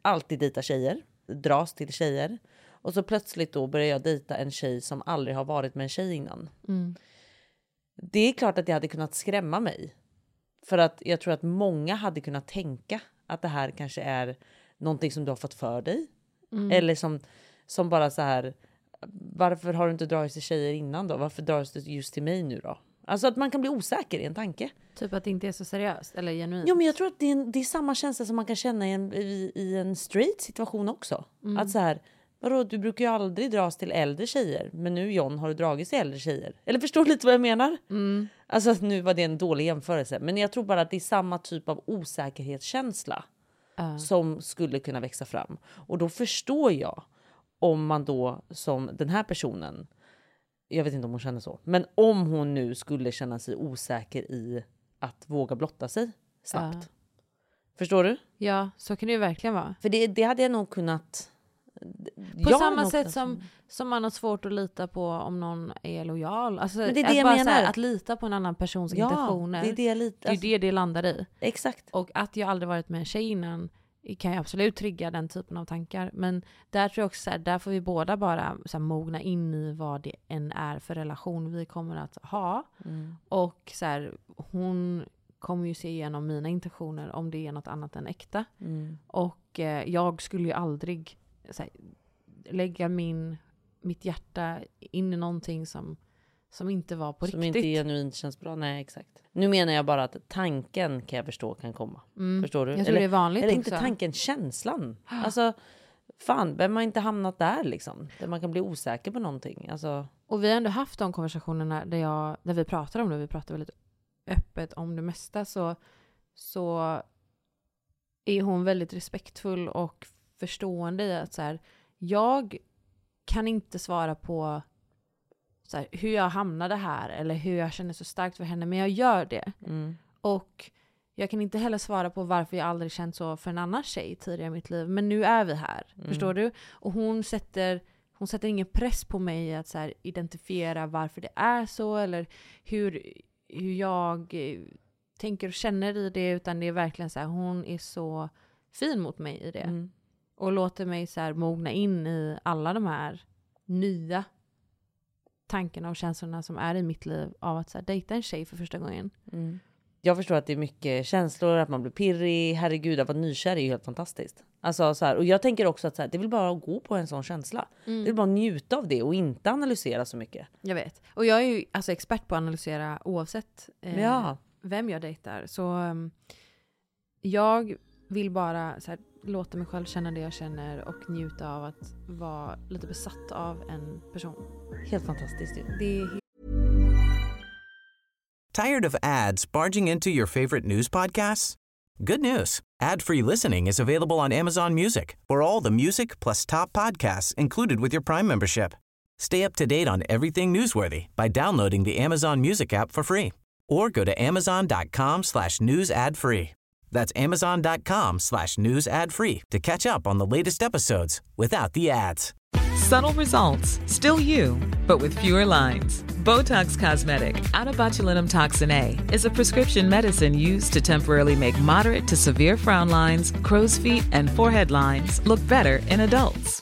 [SPEAKER 2] alltid dejtar tjejer, dras till tjejer. Och så plötsligt då börjar jag dejta en tjej som aldrig har varit med en tjej innan.
[SPEAKER 1] Mm.
[SPEAKER 2] Det är klart att det hade kunnat skrämma mig. För att jag tror att många hade kunnat tänka att det här kanske är någonting som du har fått för dig. Eller som, som bara så här, varför har du inte dragits till tjejer innan då? Varför dras du just till mig nu då? Alltså att man kan bli osäker i en tanke.
[SPEAKER 1] Typ att det inte är så seriöst eller genuint.
[SPEAKER 2] Jo men jag tror att det är, en, det är samma känsla som man kan känna i en, i, i en straight situation också. Att så här, vadå du brukar ju aldrig dras till äldre tjejer men nu John har du dragits till äldre tjejer. Eller förstår du lite vad jag menar? Alltså att nu var det en dålig jämförelse men jag tror bara att det är samma typ av osäkerhetskänsla som skulle kunna växa fram. Och då förstår jag om man då som den här personen jag vet inte om hon känner så, men om hon nu skulle känna sig osäker i att våga blotta sig snabbt. Förstår du?
[SPEAKER 1] Ja, så kan det ju verkligen vara.
[SPEAKER 2] För det, det hade jag nog kunnat.
[SPEAKER 1] På samma sätt
[SPEAKER 2] alltså-
[SPEAKER 1] som, som man har svårt att lita på om någon är lojal. Alltså,
[SPEAKER 2] Men det är
[SPEAKER 1] att,
[SPEAKER 2] det jag
[SPEAKER 1] bara så
[SPEAKER 2] menar.
[SPEAKER 1] här, att lita på en annan persons
[SPEAKER 2] ja,
[SPEAKER 1] intentioner.
[SPEAKER 2] det är det jag lite.
[SPEAKER 1] det, är ju
[SPEAKER 2] Alltså,
[SPEAKER 1] det det landar i.
[SPEAKER 2] Exakt.
[SPEAKER 1] Och att jag aldrig varit med en tjej innan kan ju absolut trigga den typen av tankar. Men där tror jag också så här, där får vi båda bara så här, mogna in i vad det än är för relation vi kommer att ha.
[SPEAKER 2] Mm.
[SPEAKER 1] Och så här, hon kommer ju se igenom mina intentioner om det är något annat än äkta.
[SPEAKER 2] Mm.
[SPEAKER 1] Och eh, jag skulle ju aldrig så här, lägga min, mitt hjärta in i någonting som Som inte var på
[SPEAKER 2] Som
[SPEAKER 1] riktigt.
[SPEAKER 2] inte genuint känns bra. Nej exakt. Nu menar jag bara att tanken kan jag förstå kan komma.
[SPEAKER 1] Mm.
[SPEAKER 2] Förstår du?
[SPEAKER 1] Jag tror det är vanligt
[SPEAKER 2] Eller inte
[SPEAKER 1] också.
[SPEAKER 2] tanken, känslan. Alltså fan, vem har inte hamnat där liksom? Där man kan bli osäker på någonting. Alltså,
[SPEAKER 1] Och vi har ändå haft de konversationerna där, jag, där vi pratar om det, vi pratar väldigt öppet om det mesta, så, så är hon väldigt respektfull och förstående i att så här, jag kan inte svara på så här, hur jag hamnade här eller hur jag känner så starkt för henne, men jag gör det.
[SPEAKER 2] mm.
[SPEAKER 1] Och jag kan inte heller svara på varför jag aldrig känt så för en annan tjej tidigare i mitt liv. Men nu är vi här. Förstår du? Och hon sätter, hon sätter ingen press på mig att så här, identifiera varför det är så eller hur, hur jag eh, tänker och känner i det. Utan det är verkligen så här, hon är så fin mot mig i det.
[SPEAKER 2] Mm.
[SPEAKER 1] Och låter mig så här mogna in i alla de här nya tankarna och känslorna som är i mitt liv av att så här, dejta en tjej för första gången.
[SPEAKER 2] Mm. Jag förstår att det är mycket känslor, att man blir pirrig. Herregud, att vara nykär är ju helt fantastiskt. Alltså, så här, och jag tänker också att så här, det vill bara att gå på en sån känsla.
[SPEAKER 1] Mm.
[SPEAKER 2] Det vill bara njuta av det och inte analysera så mycket.
[SPEAKER 1] Jag vet. Och jag är ju alltså expert på att analysera oavsett eh,
[SPEAKER 2] Ja.
[SPEAKER 1] vem jag dejtar. Så ehm, jag vill bara så här, låta mig själv känna det jag känner och njuta av att vara lite besatt av en person.
[SPEAKER 2] Helt fantastiskt ju.
[SPEAKER 1] Det är
[SPEAKER 6] Tired of ads barging into your favorite news podcasts? Good news. Ad-free listening is available on Amazon Music. For all the music plus top podcasts included with your Prime membership. Stay up to date on everything newsworthy by downloading the Amazon Music app for free or go to amazon.com slash news ad free. That's amazon.com slash news ad free to catch up on the latest episodes without the ads.
[SPEAKER 7] Subtle results, still you, but with fewer lines. Botox Cosmetic, out of botulinum toxin A, is a prescription medicine used to temporarily make moderate to severe frown lines, crow's feet, and forehead lines look better in adults.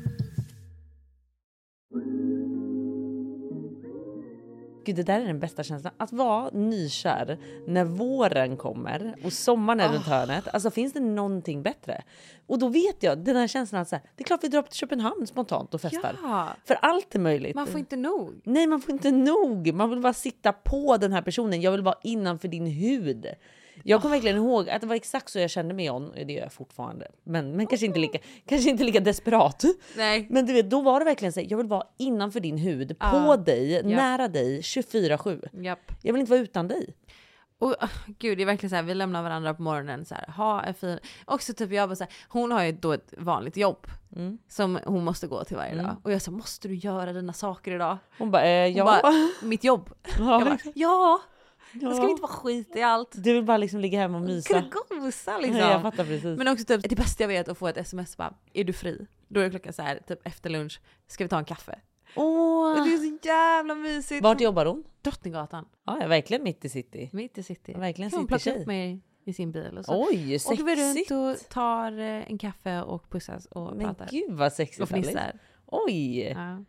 [SPEAKER 2] Gud, det där är den bästa känslan. Att vara nykär när våren kommer och sommaren
[SPEAKER 1] Ah.
[SPEAKER 2] är runt hörnet. Alltså finns det någonting bättre? Och då vet jag den här känslan att så här, det är klart vi drar upp till Köpenhamn spontant och festar.
[SPEAKER 1] Ja.
[SPEAKER 2] För allt är möjligt.
[SPEAKER 1] Man får inte nog.
[SPEAKER 2] Nej, man får inte nog. Man vill bara sitta på den här personen. Jag vill vara innanför din hud. Jag kommer verkligen ihåg att det var exakt så jag kände med John. Det gör jag fortfarande, men, men kanske, inte lika, kanske inte lika desperat.
[SPEAKER 1] Nej.
[SPEAKER 2] Men du vet, då var det verkligen så här, jag vill vara innanför din hud, på
[SPEAKER 1] Ja.
[SPEAKER 2] dig, nära dig 24-7.
[SPEAKER 1] Japp.
[SPEAKER 2] Jag vill inte vara utan dig.
[SPEAKER 1] Och ah, gud, det är verkligen så här, vi lämnar varandra på morgonen så här, ha en fin... Också typ jag bara så här, hon har ju då ett vanligt jobb
[SPEAKER 2] Mm.
[SPEAKER 1] som hon måste gå till varje dag. Och jag sa, måste du göra dina saker idag?
[SPEAKER 2] Hon bara, eh,
[SPEAKER 1] Hon
[SPEAKER 2] Mm. ja. *laughs*
[SPEAKER 1] bara, mitt jobb. Jag bara, ja, jag ska
[SPEAKER 2] Ja.
[SPEAKER 1] inte vara skit i allt.
[SPEAKER 2] Du vill bara liksom ligga hemma och mysa.
[SPEAKER 1] Kunna gosa
[SPEAKER 2] Ja, jag
[SPEAKER 1] liksom.
[SPEAKER 2] fattar precis.
[SPEAKER 1] Men också typ, det bästa jag vet är att få ett sms bara, är du fri? Då är klockan så här, typ efter lunch, ska vi ta en kaffe?
[SPEAKER 2] Åh.
[SPEAKER 1] Och Det är så jävla mysigt.
[SPEAKER 2] Ah. Vart jobbar hon?
[SPEAKER 1] Drottninggatan,
[SPEAKER 2] Ja, jag är verkligen mitt i city.
[SPEAKER 1] mitt i city.
[SPEAKER 2] Verkligen
[SPEAKER 1] Kan hon plocka
[SPEAKER 2] citytjej.
[SPEAKER 1] upp mig i sin bil och så.
[SPEAKER 2] Oj,
[SPEAKER 1] Och går vi runt
[SPEAKER 2] sexigt!
[SPEAKER 1] och tar eh, en kaffe och pussas och
[SPEAKER 2] Men
[SPEAKER 1] pratar.
[SPEAKER 2] gud vad sexigt
[SPEAKER 1] och
[SPEAKER 2] Alice.
[SPEAKER 1] fnissar.
[SPEAKER 2] Oj!
[SPEAKER 1] Ja.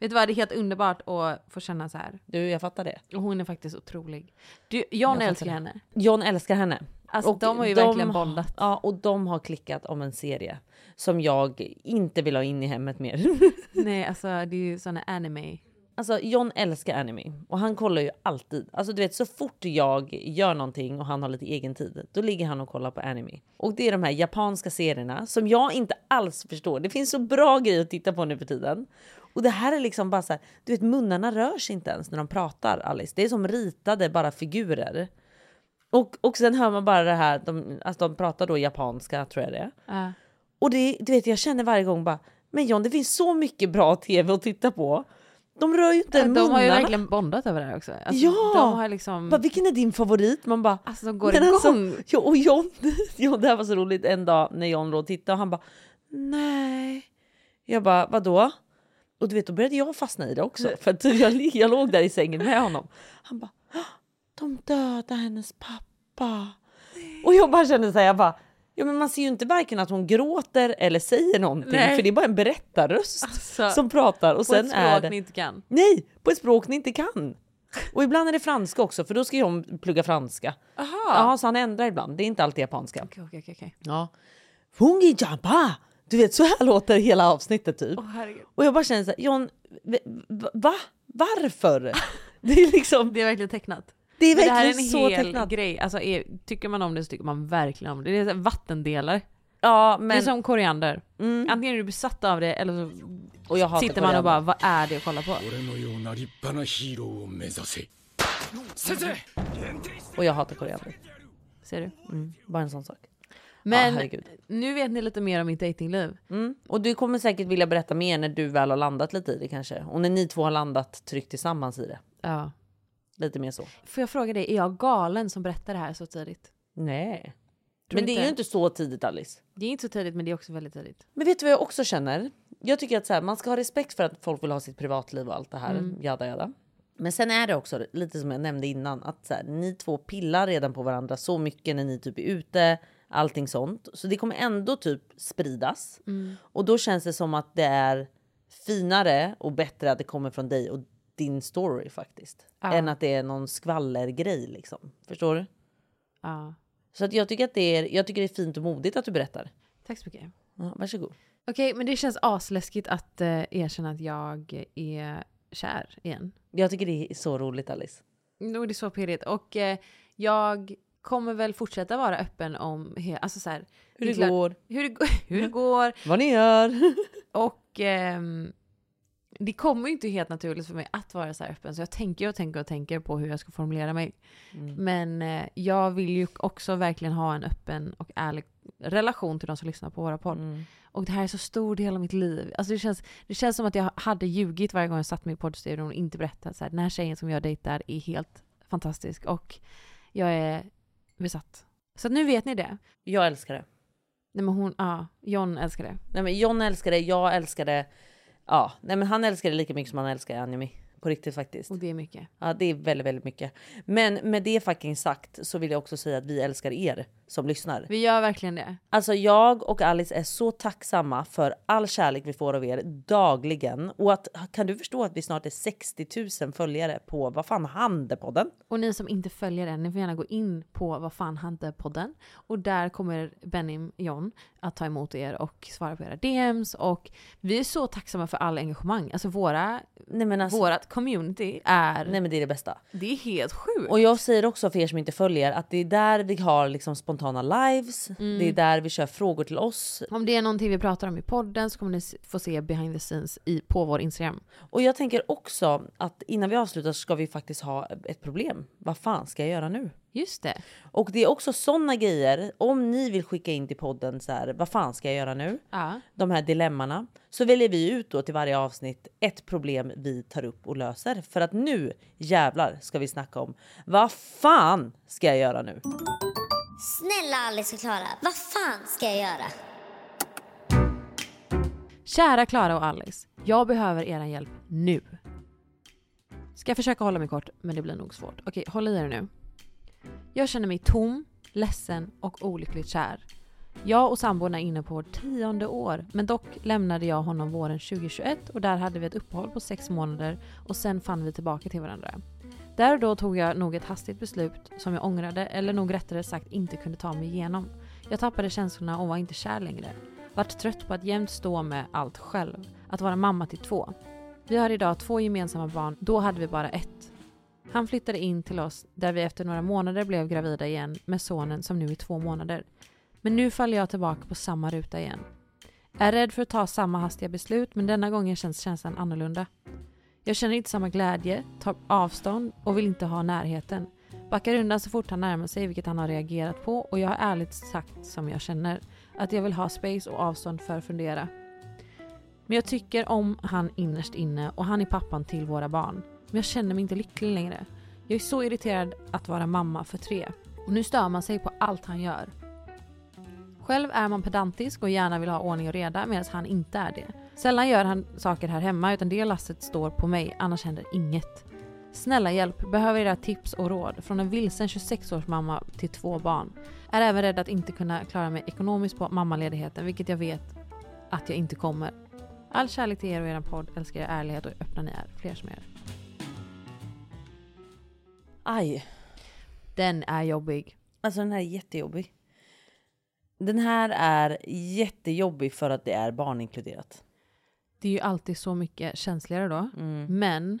[SPEAKER 1] Vet du vad, det är helt underbart att få känna så här.
[SPEAKER 2] Du, jag fattar det.
[SPEAKER 1] Och hon är faktiskt otrolig. Du, John
[SPEAKER 2] fattar
[SPEAKER 1] älskar
[SPEAKER 2] det.
[SPEAKER 1] henne.
[SPEAKER 2] John älskar henne.
[SPEAKER 1] Alltså, de har ju verkligen bondat.
[SPEAKER 2] Ja, och de har klickat om en serie som jag inte vill ha in i hemmet mer. *laughs*
[SPEAKER 1] Nej, alltså det är ju såna anime.
[SPEAKER 2] alltså, John älskar anime och han kollar ju alltid. Alltså, du vet, så fort jag gör någonting och han har lite egen tid, då ligger han och kollar på anime. Och det är de här japanska serierna som jag inte alls förstår. Det finns så bra grejer att titta på nu för tiden. Och det här är liksom bara så här, du vet munnarna rör sig inte ens när de pratar Alice. Det är som ritade bara figurer. Och, och sen hör man bara det här, de, alltså de pratar då japanska tror jag det är.
[SPEAKER 1] Ja.
[SPEAKER 2] Och det, du vet, jag känner varje gång bara, Men John, det finns så mycket bra tv att titta på. De rör ju inte
[SPEAKER 1] De
[SPEAKER 2] munnarna.
[SPEAKER 1] har ju verkligen bondat över det här också. Alltså,
[SPEAKER 2] Ja!
[SPEAKER 1] De har liksom...
[SPEAKER 2] Bara, vilken är din favorit? Man bara,
[SPEAKER 1] Alltså de går
[SPEAKER 2] Men
[SPEAKER 1] igång.
[SPEAKER 2] *laughs* Alltså, ja, och John, John, det här var så roligt en dag när John låg och tittade och han bara nej. Jag bara vadå? Och du vet då började jag fastna i det också för att jag, li- jag låg där i sängen med honom. Han bara "Ah, de dödade hennes pappa. Och jag bara kände så här, jag bara Ja, men man ser ju inte varken att hon gråter eller säger någonting
[SPEAKER 1] Nej.
[SPEAKER 2] för det är bara en berättarröst
[SPEAKER 1] Alltså,
[SPEAKER 2] som pratar och
[SPEAKER 1] på ett
[SPEAKER 2] sen är
[SPEAKER 1] språk
[SPEAKER 2] det...
[SPEAKER 1] ni inte kan.
[SPEAKER 2] Nej, på ett språk ni inte kan. Och ibland är det franska också, för då ska jag plugga franska. Ja, så han ändrar ibland. Det är inte alltid japanska.
[SPEAKER 1] Okej, okej, okej, okej.
[SPEAKER 2] Ja. Fungi jamba! Du vet, så här *laughs* låter hela avsnittet typ.
[SPEAKER 1] herregud.
[SPEAKER 2] och jag bara känner så här, John, v- v- va? Varför? Det är liksom,
[SPEAKER 1] Det är verkligen tecknat.
[SPEAKER 2] det är
[SPEAKER 1] Men det här är
[SPEAKER 2] verkligen
[SPEAKER 1] en
[SPEAKER 2] så
[SPEAKER 1] hel
[SPEAKER 2] tecknat.
[SPEAKER 1] grej. Alltså, är, tycker man om det så tycker man verkligen om det. Det är så här vattendelar.
[SPEAKER 2] Ja,
[SPEAKER 1] Det är
[SPEAKER 2] men...
[SPEAKER 1] som koriander. Antingen är du besatt av det eller så
[SPEAKER 2] *laughs* Och jag hatar
[SPEAKER 1] sitter man
[SPEAKER 2] koriander.
[SPEAKER 1] och bara vad är det att kolla på?
[SPEAKER 2] Och jag hatar koriander.
[SPEAKER 1] Ser du?
[SPEAKER 2] Bara en sån sak.
[SPEAKER 1] Men
[SPEAKER 2] herregud.
[SPEAKER 1] nu vet ni lite mer om mitt datingliv.
[SPEAKER 2] Och du kommer säkert vilja berätta mer när du väl har landat lite i det kanske. Och när ni två har landat tryggt tillsammans i det.
[SPEAKER 1] Ja.
[SPEAKER 2] Lite mer så.
[SPEAKER 1] Får jag fråga dig, är jag galen som berättar det här så tidigt?
[SPEAKER 2] Nej.
[SPEAKER 1] Tror
[SPEAKER 2] men det
[SPEAKER 1] inte.
[SPEAKER 2] är ju inte så tidigt Alice.
[SPEAKER 1] Det är inte så tidigt men det är också väldigt tidigt.
[SPEAKER 2] Men vet du vad jag också känner? Jag tycker att så här, man ska ha respekt för att folk vill ha sitt privatliv och allt det här. Jada, jada. Men sen är det också lite som jag nämnde innan att så här, ni två pillar redan på varandra så mycket när ni typ är ute, allting sånt. Så det kommer ändå typ spridas och då känns det som att det är finare och bättre att det kommer från dig och din story faktiskt än att det är någon skvallergrej liksom. Förstår du?
[SPEAKER 1] Ja.
[SPEAKER 2] Så att jag tycker att det är. Jag tycker det är fint och modigt att du berättar.
[SPEAKER 1] Tack så mycket.
[SPEAKER 2] Ja, varsågod.
[SPEAKER 1] Okej, men det känns asläskigt att eh, erkänna att jag är kär igen.
[SPEAKER 2] Jag tycker det är så roligt Alice.
[SPEAKER 1] Jo, det är så pirrigt. Och eh, jag kommer väl fortsätta vara öppen om he- alltså så här,
[SPEAKER 2] Hur
[SPEAKER 1] är
[SPEAKER 2] det
[SPEAKER 1] klart-
[SPEAKER 2] går,
[SPEAKER 1] hur det, går- *laughs* hur det går.
[SPEAKER 2] vad ni *laughs* gör.
[SPEAKER 1] Och ehm, det kommer ju inte helt naturligt för mig att vara så här öppen. Så jag tänker och tänker och tänker på hur jag ska formulera mig. Men eh, jag vill ju också verkligen ha en öppen och ärlig relation till de som lyssnar på våra podd.
[SPEAKER 2] Mm.
[SPEAKER 1] Och det här är så stor del av mitt liv. Alltså det, känns, det känns som att jag hade ljugit varje gång jag satt mig i poddstudion och inte berättat så här, den här tjejen som jag dejtar är helt fantastisk och jag är besatt. Så att nu vet ni det.
[SPEAKER 2] Jag älskar det.
[SPEAKER 1] Nej men hon, ja, John älskar det.
[SPEAKER 2] Nej, men John älskar det, jag älskar det. Ja, nej, men han älskar det lika mycket som han älskar anime. På riktigt faktiskt.
[SPEAKER 1] Och det är mycket.
[SPEAKER 2] Ja, det är väldigt, väldigt mycket. Men med det fucking sagt så vill jag också säga att vi älskar er som lyssnar.
[SPEAKER 1] Vi gör verkligen det.
[SPEAKER 2] Alltså jag och Alice är så tacksamma för all kärlek vi får av er dagligen. Och att, kan du förstå att vi snart är 60 000 följare på vad fan Handepodden?
[SPEAKER 1] Och ni som inte följer den, ni får gärna gå in på Vad fan hände podden. Och där kommer Benim John att ta emot er och svara på era DMs. Och vi är så tacksamma för all engagemang. Alltså våra,
[SPEAKER 2] Nej men alltså,
[SPEAKER 1] vårat community är,
[SPEAKER 2] nej, men det är det bästa.
[SPEAKER 1] det är helt sjukt.
[SPEAKER 2] Och jag säger också för er som inte följer att det är där vi har liksom spontana lives. Det är där vi kör frågor till oss.
[SPEAKER 1] Om det är någonting vi pratar om i podden så kommer ni s- få se behind the scenes i, på vår Instagram.
[SPEAKER 2] Och jag tänker också att innan vi avslutar så ska vi faktiskt ha ett problem. Vad fan ska jag göra nu?
[SPEAKER 1] Just det.
[SPEAKER 2] Och det är också sådana grejer. Om ni vill skicka in till podden så här, vad fan ska jag göra nu?
[SPEAKER 1] Ja.
[SPEAKER 2] De här dilemmana. Så väljer vi ut då till varje avsnitt ett problem vi tar upp och löser. För att nu jävlar ska vi snacka om vad fan ska jag göra nu?
[SPEAKER 8] Snälla Alice och Klara, vad fan ska jag göra?
[SPEAKER 1] Kära Klara och Alice, jag behöver er hjälp nu. Ska jag försöka hålla mig kort, men det blir nog svårt. Okej, håll i er nu. Jag känner mig tom, ledsen och olyckligt kär. Jag och sambon är inne på vårt tionde år, men dock lämnade jag honom våren 2021 och där hade vi ett uppehåll på sex månader och sen fann vi tillbaka till varandra. Där och då tog jag nog ett hastigt beslut som jag ångrade eller nog rättare sagt inte kunde ta mig igenom. Jag tappade känslorna och var inte kär längre. Vart trött på att jämt stå med allt själv. Att vara mamma till två. Vi har idag två gemensamma barn, då hade vi bara ett. Han flyttade in till oss där vi efter några månader blev gravida igen med sonen som nu är två månader. Men nu faller jag tillbaka på samma ruta igen. Är rädd för att ta samma hastiga beslut men denna gången känns känslan annorlunda. Jag känner inte samma glädje, tar avstånd och vill inte ha närheten. Backar undan så fort han närmar sig vilket han har reagerat på och jag har ärligt sagt som jag känner. Att jag vill ha space och avstånd för att fundera. Men jag tycker om han innerst inne och han är pappan till våra barn. Men jag känner mig inte lycklig längre. Jag är så irriterad att vara mamma för tre. Och nu stör man sig på allt han gör. Själv är man pedantisk och gärna vill ha ordning och reda medan han inte är det. Sällan gör han saker här hemma utan det lasset står på mig, annars händer inget. Snälla hjälp, behöver era tips och råd från en vilsen 26-års mamma till två barn. Är även rädd att inte kunna klara mig ekonomiskt på mammaledigheten, vilket jag vet att jag inte kommer. All kärlek till er och er podd, älskar er ärlighet och hur öppna ni är, fler som er.
[SPEAKER 2] Aj.
[SPEAKER 1] Den är jobbig.
[SPEAKER 2] Alltså den här är jättejobbig. Den här är jättejobbig för att det är barn inkluderat.
[SPEAKER 1] Det är ju alltid så mycket känsligare då. Men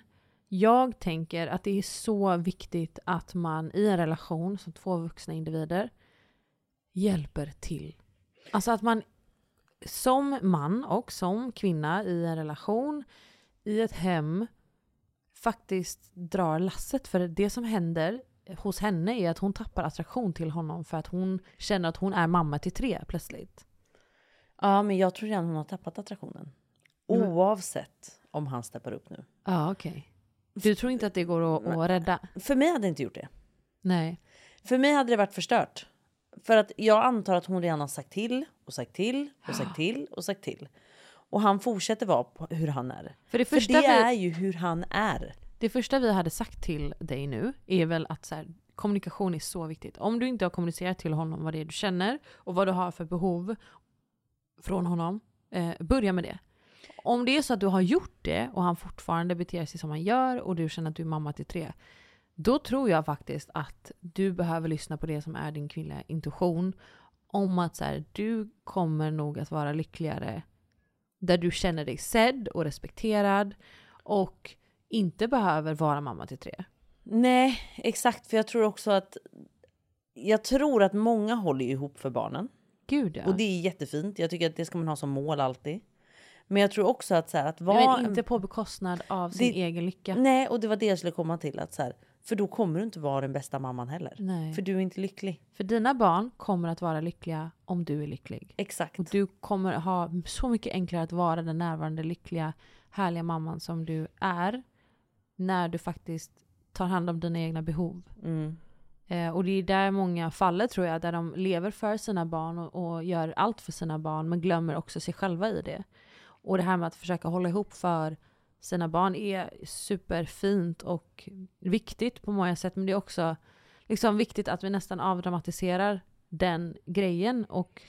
[SPEAKER 1] jag tänker att det är så viktigt att man i en relation som två vuxna individer hjälper till. Alltså att man som man och som kvinna i en relation, i ett hem, faktiskt drar lasset. För det som händer hos henne är att hon tappar attraktion till honom för att hon känner att hon är mamma till tre plötsligt.
[SPEAKER 2] Ja, men jag tror redan hon har tappat attraktionen. Oavsett om han steppar upp nu.
[SPEAKER 1] Ja, okej. Du tror inte att det går att, att rädda?
[SPEAKER 2] För mig hade det inte gjort det.
[SPEAKER 1] Nej.
[SPEAKER 2] För mig hade det varit förstört. För att jag antar att hon redan har sagt till och sagt till och sagt till och sagt till. Och han fortsätter vara på hur han är.
[SPEAKER 1] För det första
[SPEAKER 2] För det
[SPEAKER 1] vi-
[SPEAKER 2] är ju hur han är.
[SPEAKER 1] Det första vi hade sagt till dig nu är väl att så här, kommunikation är så viktigt. Om du inte har kommunicerat till honom vad det är du känner och vad du har för behov från honom, eh, börja med det. Om det är så att du har gjort det och han fortfarande beter sig som han gör och du känner att du är mamma till tre, då tror jag faktiskt att du behöver lyssna på det som är din kvinnliga intuition om att så här, du kommer nog att vara lyckligare där du känner dig sedd och respekterad och inte behöver vara mamma till tre.
[SPEAKER 2] Nej, exakt. För jag tror också att... Jag tror att många håller ju ihop för barnen.
[SPEAKER 1] Gud ja.
[SPEAKER 2] Och det är jättefint. Jag tycker att det ska man ha som mål alltid. Men jag tror också att så här, att vara...
[SPEAKER 1] Nej, men inte på bekostnad av sin
[SPEAKER 2] Det- Mm.
[SPEAKER 1] egen lycka.
[SPEAKER 2] Nej, och det var det jag skulle komma till. Att så här, för då kommer du inte vara den bästa mamman heller.
[SPEAKER 1] Nej.
[SPEAKER 2] För du är inte lycklig.
[SPEAKER 1] För dina barn kommer att vara lyckliga om du är lycklig.
[SPEAKER 2] Exakt.
[SPEAKER 1] Och du kommer ha så mycket enklare att vara den närvarande, lyckliga, härliga mamman som du är. När du faktiskt tar hand om dina egna behov.
[SPEAKER 2] Mm.
[SPEAKER 1] Eh, och det är där många faller tror jag, där de lever för sina barn och, och gör allt för sina barn men glömmer också sig själva i det. Och det här med att försöka hålla ihop för sina barn är superfint och viktigt på många sätt men det är också liksom viktigt att vi nästan avdramatiserar den grejen och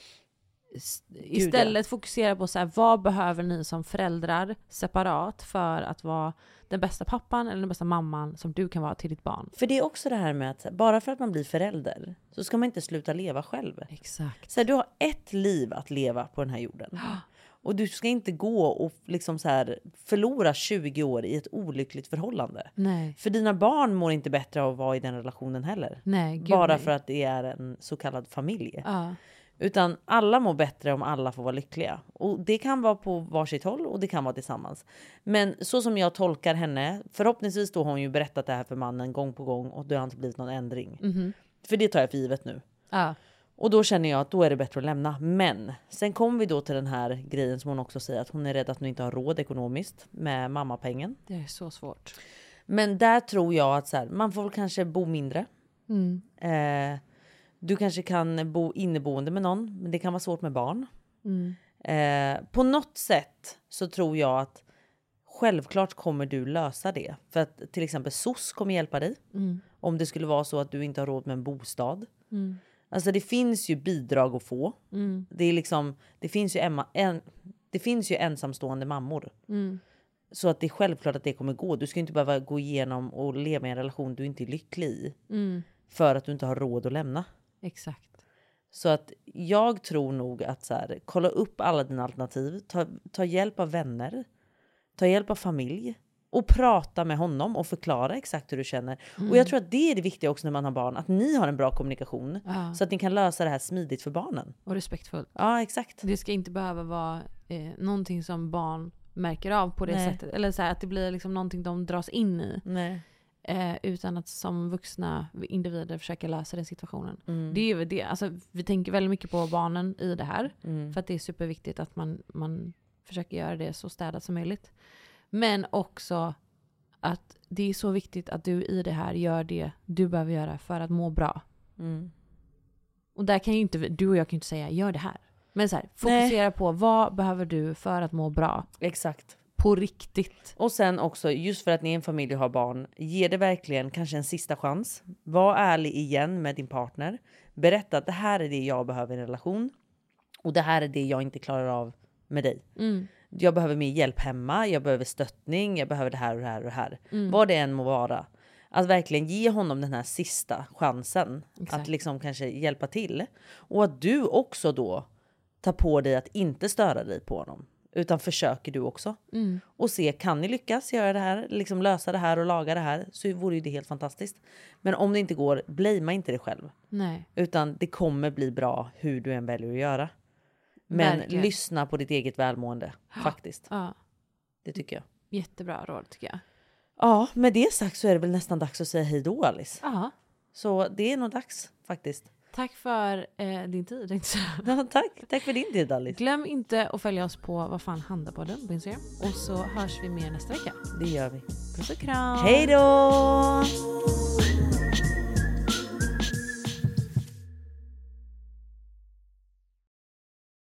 [SPEAKER 1] s- istället fokusera på så här, vad behöver ni som föräldrar separat för att vara den bästa pappan eller den bästa mamman som du kan vara till ditt barn.
[SPEAKER 2] För det är också det här med att så här, bara för att man blir förälder så ska man inte sluta leva själv.
[SPEAKER 1] Exakt.
[SPEAKER 2] Så här, du har ett liv att leva på den här
[SPEAKER 1] *gasps*
[SPEAKER 2] jorden. Och du ska inte gå och liksom så här, förlora 20 år i ett olyckligt förhållande.
[SPEAKER 1] Nej.
[SPEAKER 2] För dina barn mår inte bättre av att vara i den relationen heller.
[SPEAKER 1] Nej, gud
[SPEAKER 2] Bara
[SPEAKER 1] nej.
[SPEAKER 2] för att det är en så kallad familj.
[SPEAKER 1] Ja.
[SPEAKER 2] Utan alla mår bättre om alla får vara lyckliga. Och det kan vara på varsitt håll och det kan vara tillsammans. Men så som jag tolkar henne, förhoppningsvis då har hon ju berättat det här för mannen gång på gång och det har inte blivit någon ändring.
[SPEAKER 1] Mhm.
[SPEAKER 2] För det tar jag för givet nu.
[SPEAKER 1] Ja.
[SPEAKER 2] Och då känner jag att då är det bättre att lämna. Men sen kommer vi då till den här grejen som hon också säger att hon är rädd att hon inte har råd ekonomiskt med mammapengen.
[SPEAKER 1] Det är så svårt.
[SPEAKER 2] Men där tror jag att så här, man får väl kanske bo mindre. Eh, du kanske kan bo inneboende med någon, men det kan vara svårt med barn. Eh, på något sätt så tror jag att självklart kommer du lösa det. För att till exempel SOS kommer hjälpa dig. Om det skulle vara så att du inte har råd med en bostad. Alltså det finns ju bidrag att få. Det, är liksom, det, finns ju Emma, en, det finns ju ensamstående mammor. Så att det är självklart att det kommer gå. Du ska ju inte behöva gå igenom och leva i en relation du inte är lycklig i. För att du inte har råd att lämna.
[SPEAKER 1] Exakt.
[SPEAKER 2] Så att jag tror nog att så här, kolla upp alla dina alternativ. Ta, ta hjälp av vänner. Ta hjälp av familj. Och prata med honom och förklara exakt hur du känner. Och jag tror att det är det viktiga också när man har barn. Att ni har en bra kommunikation. Så att ni kan lösa det här smidigt för barnen.
[SPEAKER 1] Och respektfullt.
[SPEAKER 2] Ja exakt.
[SPEAKER 1] Det ska inte behöva vara eh, någonting som barn märker av på det
[SPEAKER 2] Nej.
[SPEAKER 1] sättet. Eller så här, att det blir liksom någonting de dras in i.
[SPEAKER 2] Nej.
[SPEAKER 1] Eh, utan att som vuxna individer försöka lösa den situationen. Det är väl det. Alltså, vi tänker väldigt mycket på barnen i det här. För att det är superviktigt att man, man försöker göra det så städat som möjligt. Men också att det är så viktigt att du i det här gör det du behöver göra för att må bra.
[SPEAKER 2] Mm.
[SPEAKER 1] Och där kan ju inte, vi- du och jag kan ju inte säga gör det här. Men så här, fokusera på vad behöver du för att må bra.
[SPEAKER 2] Exakt.
[SPEAKER 1] På riktigt.
[SPEAKER 2] Och sen också, just för att ni är en familj och har barn, ge det verkligen kanske en sista chans. Var ärlig igen med din partner. Berätta att det här är det jag behöver i en relation och det här är det jag inte klarar av med dig.
[SPEAKER 1] Mm.
[SPEAKER 2] Jag behöver mer hjälp hemma, jag behöver stöttning, jag behöver det här och det här och det här.
[SPEAKER 1] Mm.
[SPEAKER 2] Vad det än må vara. Att verkligen ge honom den här sista chansen
[SPEAKER 1] Exakt.
[SPEAKER 2] att liksom kanske hjälpa till. Och att du också då tar på dig att inte störa dig på honom. Utan försöker du också.
[SPEAKER 1] Mm.
[SPEAKER 2] Och se, kan ni lyckas göra det här, liksom lösa det här och laga det här så vore ju det helt fantastiskt. Men om det inte går, blamea inte dig själv.
[SPEAKER 1] Nej.
[SPEAKER 2] Utan det kommer bli bra hur du än väljer att göra. Men
[SPEAKER 1] Verkligen.
[SPEAKER 2] lyssna på ditt eget välmående faktiskt.
[SPEAKER 1] Ja.
[SPEAKER 2] Det tycker jag.
[SPEAKER 1] Jättebra råd tycker jag.
[SPEAKER 2] Ja, med det sagt så är det väl nästan dags att säga hej då Alice.
[SPEAKER 1] Ja.
[SPEAKER 2] Så det är nog dags faktiskt. *laughs*
[SPEAKER 1] Tack för eh, din tid. tänkte jag säga.
[SPEAKER 2] Ja, tack, tack för din tid Alice.
[SPEAKER 1] Glöm inte att följa oss på vad fan handlar på den på Instagram. Och så hörs vi mer nästa vecka.
[SPEAKER 2] Det gör vi.
[SPEAKER 1] Puss och kram.
[SPEAKER 2] Hej då!